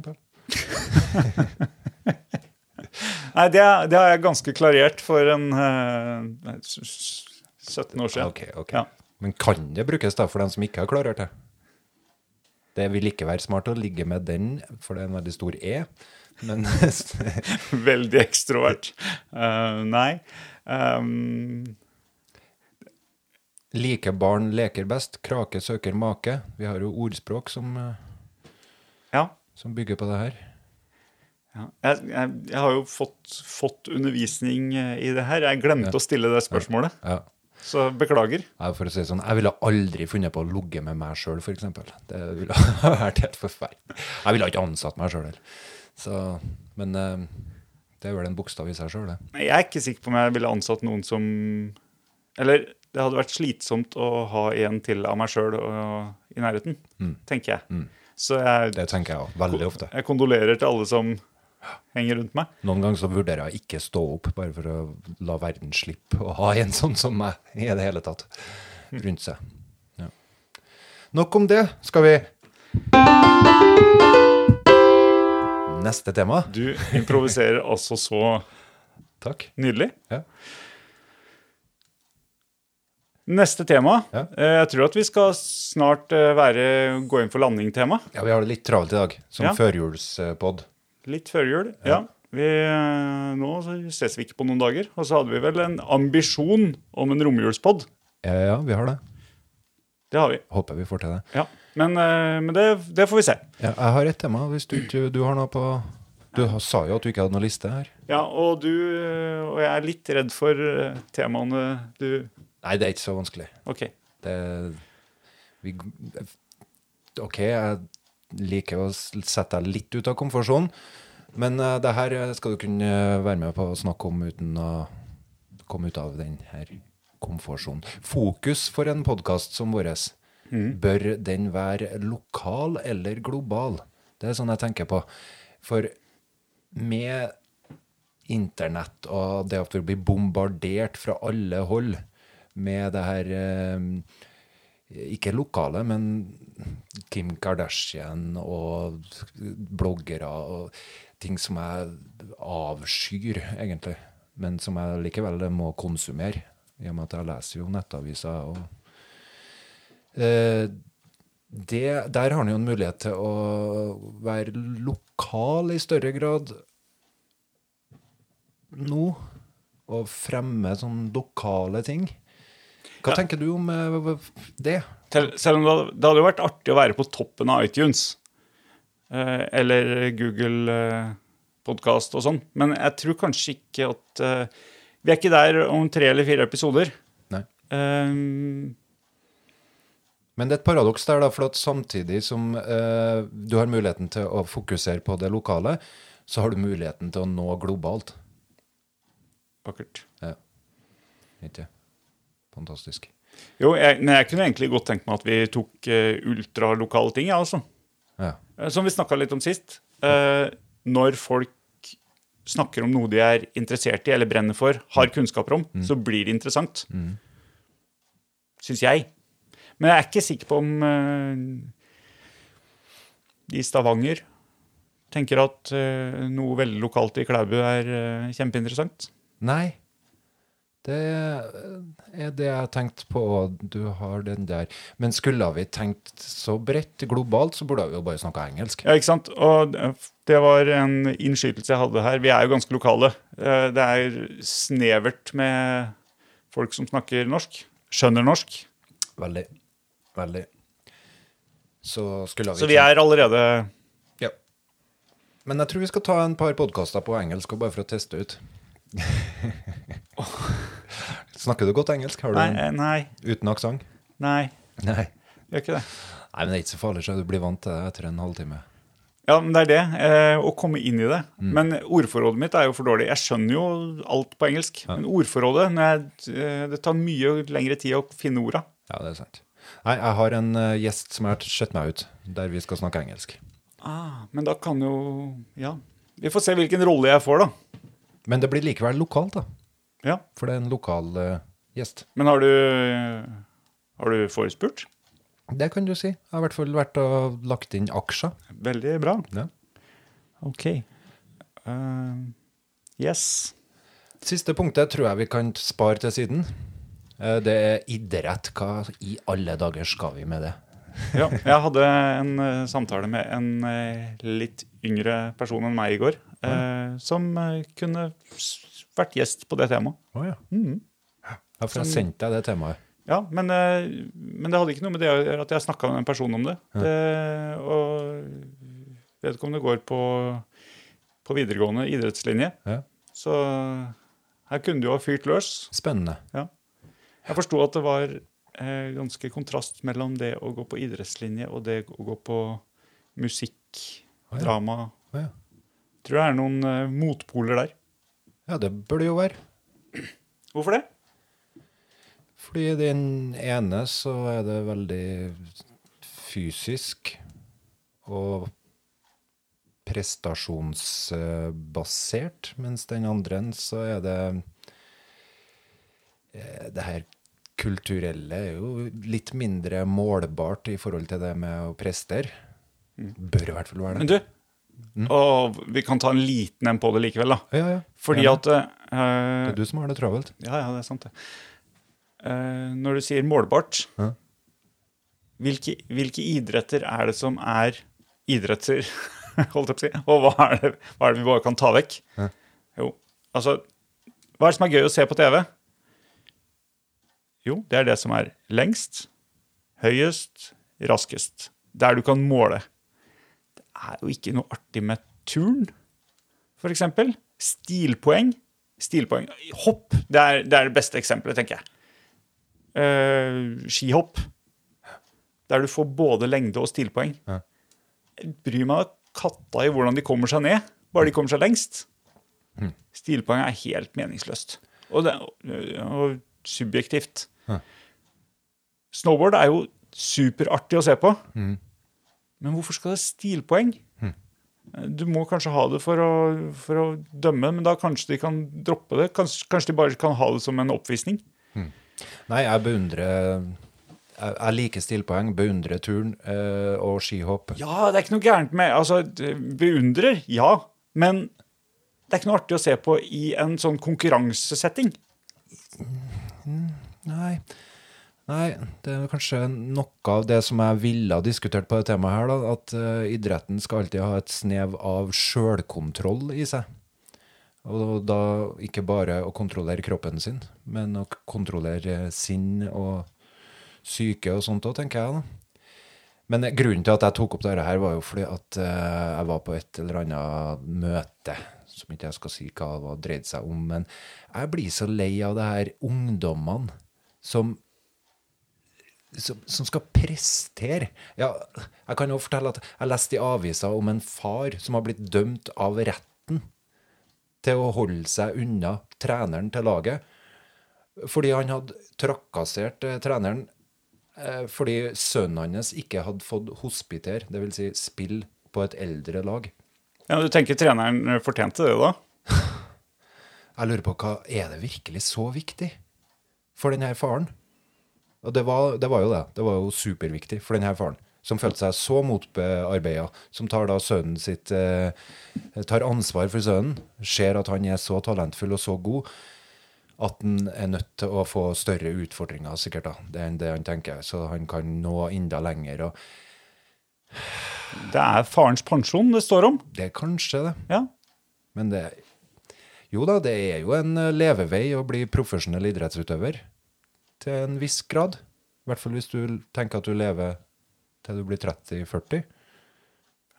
S1: Nei, det, det har jeg ganske klarert for en eh, 17 år siden.
S2: Ok, ok.
S1: Ja.
S2: Men kan det brukes da for dem som ikke har klarert det? Det vil ikke være smart å ligge med den, for det er en veldig stor E. Men
S1: Veldig ekstrovert. Eh, nei. Ehm,
S2: like barn leker best, krake søker make. Vi har jo ordspråk som, eh,
S1: ja.
S2: som bygger på det her.
S1: Ja. Jeg, jeg, jeg har jo fått, fått undervisning eh, i det her. Jeg glemte å stille det spørsmålet,
S2: Ja.
S1: så beklager.
S2: Ja, For å si det sånn, jeg ville aldri funnet på å ligge med meg sjøl, f.eks. Det ville ha vært helt forferdelig. Jeg ville ikke ansatt meg sjøl heller. Så- Men eh, det er vel en bokstav i seg sjøl, det.
S1: Jeg er ikke sikker på om jeg ville ansatt noen som Eller det hadde vært slitsomt å ha en til av meg sjøl i nærheten, tenker jeg. Så jeg,
S2: Mm. Det tenker jeg òg, veldig ofte.
S1: jeg kondolerer til alle som henger rundt meg.
S2: Noen ganger så vurderer jeg ikke stå opp, bare for å la verden slippe å ha en sånn som meg i det hele tatt rundt seg. Ja. Nok om det. Skal vi Neste tema.
S1: Du improviserer altså så
S2: Takk.
S1: nydelig.
S2: Ja.
S1: Neste tema.
S2: Ja.
S1: Eh, Jeg tror at vi skal snart eh, være, gå inn for landing-tema.
S2: ja, vi har det litt travelt i dag, som
S1: Ja.
S2: førjulspod.
S1: Litt før jul, ja. Vi, eh, nå så ses vi ikke på noen dager. Og så hadde vi vel en ambisjon om en romjulspod.
S2: Ja, ja, vi har det.
S1: Det har vi.
S2: Håper vi får til det.
S1: ja. Men, eh, men det, det får vi se.
S2: Ja, jeg har et tema, hvis du ikke du har noe på Du har- sa jo at du ikke hadde noe liste her.
S1: Ja, og du eh, og jeg er litt redd for eh, temaene du
S2: Nei, det er ikke så vanskelig.
S1: OK.
S2: Det vi, OK, jeg liker å s- sette deg litt ut av komfortsonen, men eh, det her eh, skal du kunne eh, være med på å snakke om uten å komme ut av den her komfortsonen. Fokus for en podkast som vår. Bør den være lokal eller global? Det er sånn jeg tenker på. For med internett og det at vi blir bombardert fra alle hold med det her eh, Ikke lokale, men Kim Kardashian og bloggere og ting som jeg avskyr, egentlig. Men som jeg likevel må konsumere, i og med at jeg leser jo nettaviser og Eh, det, der har han jo en mulighet til å være lokal i større grad nå, og fremme sånn lokale ting. Hva tenker du om eh, det?
S1: Tel- Selv om det hadde, det hadde jo vært artig å være på toppen av iTunes. eh, Eller Google eh, Podcast og sånn. Men jeg tror kanskje ikke at eh, Vi er ikke der om tre eller fire episoder.
S2: Nei.
S1: Eh,
S2: Men det er et paradoks der, da, for at samtidig som eh, du har muligheten til å fokusere på det lokale, så har du muligheten til å nå globalt.
S1: Vakkert.
S2: Ja. Ikke Fantastisk.
S1: Jo, jeg, men jeg kunne egentlig godt tenkt meg at vi tok eh, ultralokale ting, jeg, ja, altså.
S2: Ja.
S1: Eh, Som vi snakka litt om sist. eh, når folk snakker om noe de er interessert i eller brenner for, har kunnskaper om, så blir det interessant. Mm. Syns jeg. Men jeg er ikke sikker på om eh, de i Stavanger tenker at eh, noe veldig lokalt i Klæbu er eh, kjempeinteressant.
S2: Nei. Det er det jeg har tenkt på. Du har den der. Men skulle vi tenkt så bredt globalt, så burde vi jo bare snakka engelsk.
S1: Ja, ikke sant? Og det var en innskytelse jeg hadde her. Vi er jo ganske lokale. Eh, Det er snevert med folk som snakker norsk. Skjønner norsk.
S2: Veldig. Veldig. Så skulle vi
S1: Så vi er allerede
S2: Ja. Men jeg tror vi skal ta en par podkaster på engelsk, og bare for å teste ut. Snakker du godt engelsk? Har du
S1: Nei, eh, nei,
S2: uten aksent?
S1: nei.
S2: Nei.
S1: Gjør ikke det.
S2: Nei, men det er ikke så farlig, så du blir vant til det etter en halvtime.
S1: Ja, men det er det. eh, Å komme inn i det.
S2: Mm.
S1: Men ordforrådet mitt er jo for dårlig. Jeg skjønner jo alt på engelsk. Men ordforrådet når jeg, eh, Det tar mye lengre tid å finne orda.
S2: Ja, det er sant. Nei, jeg har en eh, gjest som har sett meg ut, der vi skal snakke engelsk.
S1: Ah, men da kan jo Ja. Vi får se hvilken rolle jeg får, da.
S2: Men det blir likevel lokalt, da.
S1: Ja.
S2: For det er en lokal eh, gjest.
S1: Men har du, har du forespurt?
S2: Det kan du si. Jeg har i hvert fall vært og lagt inn aksjer.
S1: Veldig bra.
S2: Ja.
S1: Ok. Eh, Yes.
S2: Siste punktet tror jeg vi kan spare til siden. Eh, Det er idrett. Hva i alle dager skal vi med det?
S1: Ja, jeg hadde en eh, samtale med en eh, litt yngre person enn meg i går, eh, som eh, kunne s- vært gjest på det temaet. Mm.
S2: Å ja. Ja, for jeg sendte deg det temaet.
S1: Ja, men, eh, men det hadde ikke noe med det å gjøre at jeg snakka med en person om det. Eh, Og vedkommende går på, på videregående idrettslinje,
S2: Ja.
S1: så her kunne du ha fyrt løs.
S2: Spennende.
S1: Ja. Jeg forsto at det var eh, ganske kontrast mellom det å gå på idrettslinje og det å gå på musikk,
S2: ja.
S1: drama.
S2: Å ja.
S1: Tror det er noen eh, motpoler der.
S2: ja, det bør det jo være.
S1: Hvorfor det?
S2: Fordi i den ene så er det veldig fysisk og prestasjonsbasert, mens den andre så er det eh, det her kulturelle er jo litt mindre målbart i forhold til det med å prestere. Bør i hvert fall
S1: Mm.
S2: være
S1: Men
S2: det.
S1: du, og vi kan ta en liten en på det likevel, da.
S2: Mm. Ja, ja.
S1: Fordi
S2: Ja,
S1: at eh,
S2: Det er du som har det travelt.
S1: Ja, ja, det er sant det. Eh, når du sier målbart,
S2: Ja.
S1: hvilke, hvilke idretter er det som er idretter, holdt jeg på å si, og hva er det, hva er det vi bare kan ta vekk?
S2: Ja.
S1: Jo, altså, hva er det som er gøy å se på TV? Jo, det er det som er lengst, høyest, raskest, der du kan måle. Det er jo ikke noe artig med turn for eksempel. Stilpoeng. Stilpoeng. Hopp det er det, er det beste eksempelet, tenker jeg. Eh, skihopp. Der du får både lengde og stilpoeng.
S2: Ja.
S1: Jeg bryr meg katta i hvordan de kommer seg ned, bare de kommer seg lengst.
S2: Mm.
S1: Stilpoeng er helt meningsløst. Og, det, og subjektivt.
S2: Ja.
S1: Snowboard er jo superartig å se på,
S2: Mm.
S1: men hvorfor skal det stilpoeng? Du må kanskje ha det for å, for å dømme, men da kanskje de kan droppe det. Kanskje, kanskje de bare kan ha det som en oppvisning.
S2: Nei, jeg beundrer Jeg, jeg liker stilpoeng, beundrer turn eh, og skihopp.
S1: Ja, det er ikke noe gærent med Altså, d- beundrer, ja. Men det er ikke noe artig å se på i en sånn konkurransesetting.
S2: Nei. Nei, det er kanskje noe av det som jeg ville ha diskutert på det temaet her, da, at eh, idretten skal alltid ha et snev av sjølkontroll i seg. Og da ikke bare å kontrollere kroppen sin, men å k- kontrollere sinn og syke og sånt òg, tenker jeg. da. Men eh, grunnen til at jeg tok opp dette her, var jo fordi at eh, jeg var på et eller annet møte, som ikke jeg skal si hva det var dreide seg om, men jeg blir så lei av det her ungdommene som som, som skal prestere. Ja, jeg kan jo fortelle at jeg leste i avisa om en far som har blitt dømt av retten til å holde seg unna treneren til laget. Fordi han hadde trakassert eh, treneren eh, fordi sønnen hans ikke hadde fått hospitere, dvs. Si spill på et eldre lag.
S1: Ja, Du tenker treneren fortjente det, da?
S2: Jeg lurer på hva er det virkelig så viktig for denne faren? Og det var, det var jo det. Det var jo superviktig for denne faren, som følte seg så motbearbeida, som tar da sønnen sitt eh, Tar ansvar for sønnen, ser at han er så talentfull og så god at han er nødt til å få større utfordringer, sikkert, da. Det er det han tenker, så han kan nå enda lenger. Og
S1: Det er farens pensjon det står om.
S2: det er kanskje det.
S1: Ja.
S2: Men det Jo da, det er jo en eh, levevei å bli profesjonell idrettsutøver. Til en viss grad. I hvert fall hvis du l- tenker at du lever til du blir 30-40.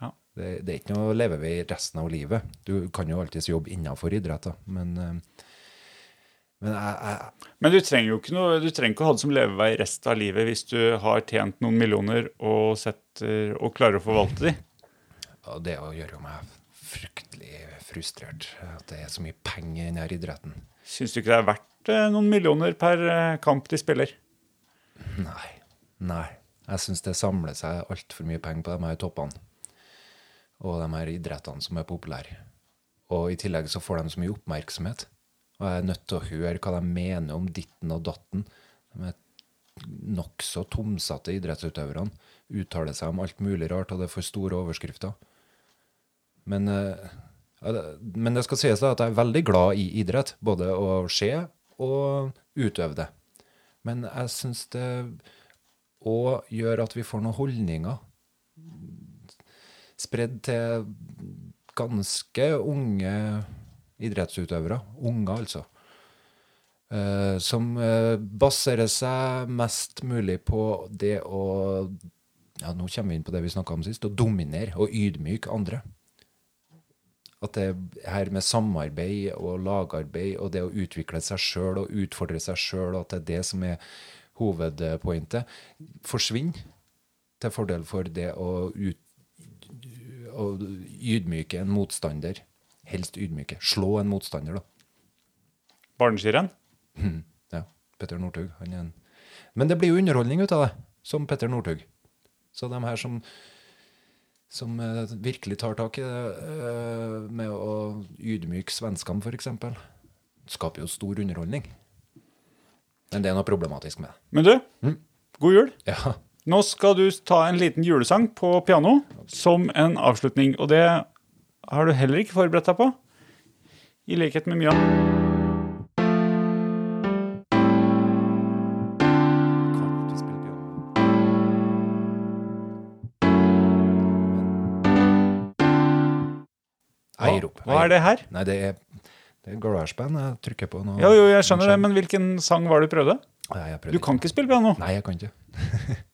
S1: Ja.
S2: Det, det er ikke noe levevei resten av livet. Du kan jo alltids jobbe innenfor idrett, da. Men, eh, men jeg, jeg,
S1: Men du trenger jo ikke noe, du trenger ikke å ha det som levevei resten av livet hvis du har tjent noen millioner og, setter, og klarer å forvalte de.
S2: og det å gjøre jo meg fryktelig frustrert. At det er så mye penger i denne idretten.
S1: Syns du ikke det er verdt eh, noen millioner per eh, kamp de spiller?
S2: Nei. Nei. Jeg syns det samler seg altfor mye penger på de her toppene. Og de her idrettene som er populære. Og i tillegg så får de så mye oppmerksomhet. Og jeg er nødt til å høre hva de mener om ditten og datten. De er nokså tomsatte idrettsutøverne. Uttaler seg om alt mulig rart, og det får store overskrifter. Men eh, Ja, det- Men det skal sies da at jeg er veldig glad i idrett, både å se og utøve det. Men jeg syns det òg gjør at vi får noen holdninger spredd til ganske unge idrettsutøvere. Unger, altså. Eh, som eh, baserer seg mest mulig på det å ja, Nå kommer vi inn på det vi snakka om sist. Å dominere og ydmyke andre at det her med samarbeid og lagarbeid og det å utvikle seg sjøl og utfordre seg sjøl, at det er det som er hovedpointet, forsvinner til fordel for det å, ut, å ydmyke en motstander. Helst ydmyke. Slå en motstander, da.
S1: Barneskirenn?
S2: Ja, Petter Northug. Han er en Men det blir jo underholdning ut av det, som Petter Northug. Så de her som som eh, virkelig tar tak i det eh, med å ydmyke svenskene, f.eks., skaper jo stor underholdning. Men det er noe problematisk med det.
S1: Men du, god jul.
S2: Ja.
S1: Nå skal du ta en liten julesang på piano som en avslutning. Og det har du heller ikke forberedt deg på, i likhet med mye annet.
S2: Eirop.
S1: Hva er det her?
S2: Nei, det er, det er GarageBand jeg trykker på nå.
S1: Jo, jo, jeg skjønner det, men hvilken sang var det du prøvde?
S2: Nei, jeg prøvde
S1: Du kan ikke spille piano.
S2: Nei, jeg kan ikke.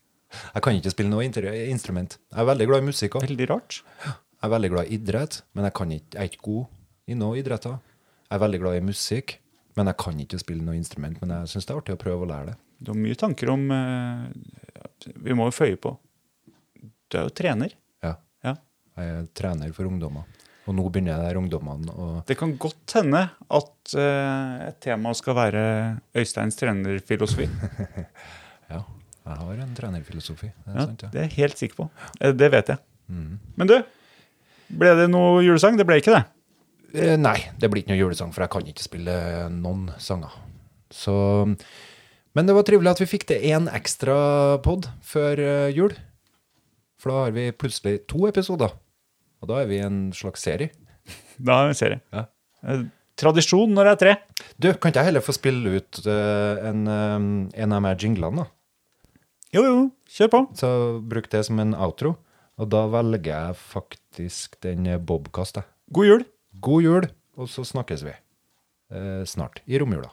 S2: jeg kan ikke spille noe inter- instrument. Jeg er veldig glad i musikk òg.
S1: Veldig rart.
S2: Jeg er veldig glad i idrett, men jeg, kan ikke, jeg er ikke god i noen idretter. Jeg er veldig glad i musikk, men jeg kan ikke spille noe instrument. Men jeg syns det er artig å prøve å lære det.
S1: Du har mye tanker om eh, Vi må jo føye på. Du er jo trener.
S2: Ja,
S1: Ja.
S2: jeg er trener for ungdommer. Og nå begynner jeg der ungdommene å
S1: Det kan godt hende at eh, et tema skal være Øysteins trenerfilosofi.
S2: Ja, jeg har en trenerfilosofi. Det er
S1: Ja,
S2: sant, ja. Mhm.
S1: det er jeg helt sikker på. Eh, Det vet jeg. Men du, ble det noe julesang? Det ble ikke det.
S2: Eh, Nei, det blir ikke noe julesang, for jeg kan ikke spille noen sanger. Så Men det var trivelig at vi fikk til én ekstra pod før eh, jul. For da har vi plutselig to episoder. Og da er vi i en slags serie.
S1: Da ser jeg.
S2: Ja.
S1: Eh, Tradisjon når jeg er tre.
S2: Du, kan ikke jeg heller få spille ut eh, en, eh, en av de her jinglene, da?
S1: Jo, jo, kjør på.
S2: Så bruk det som en outro. Og da velger jeg faktisk den eh, Bobkast, jeg.
S1: God jul.
S2: God jul, og så snakkes vi eh, snart i romjula.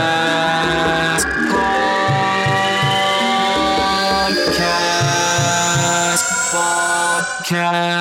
S5: Podcast. Podcast.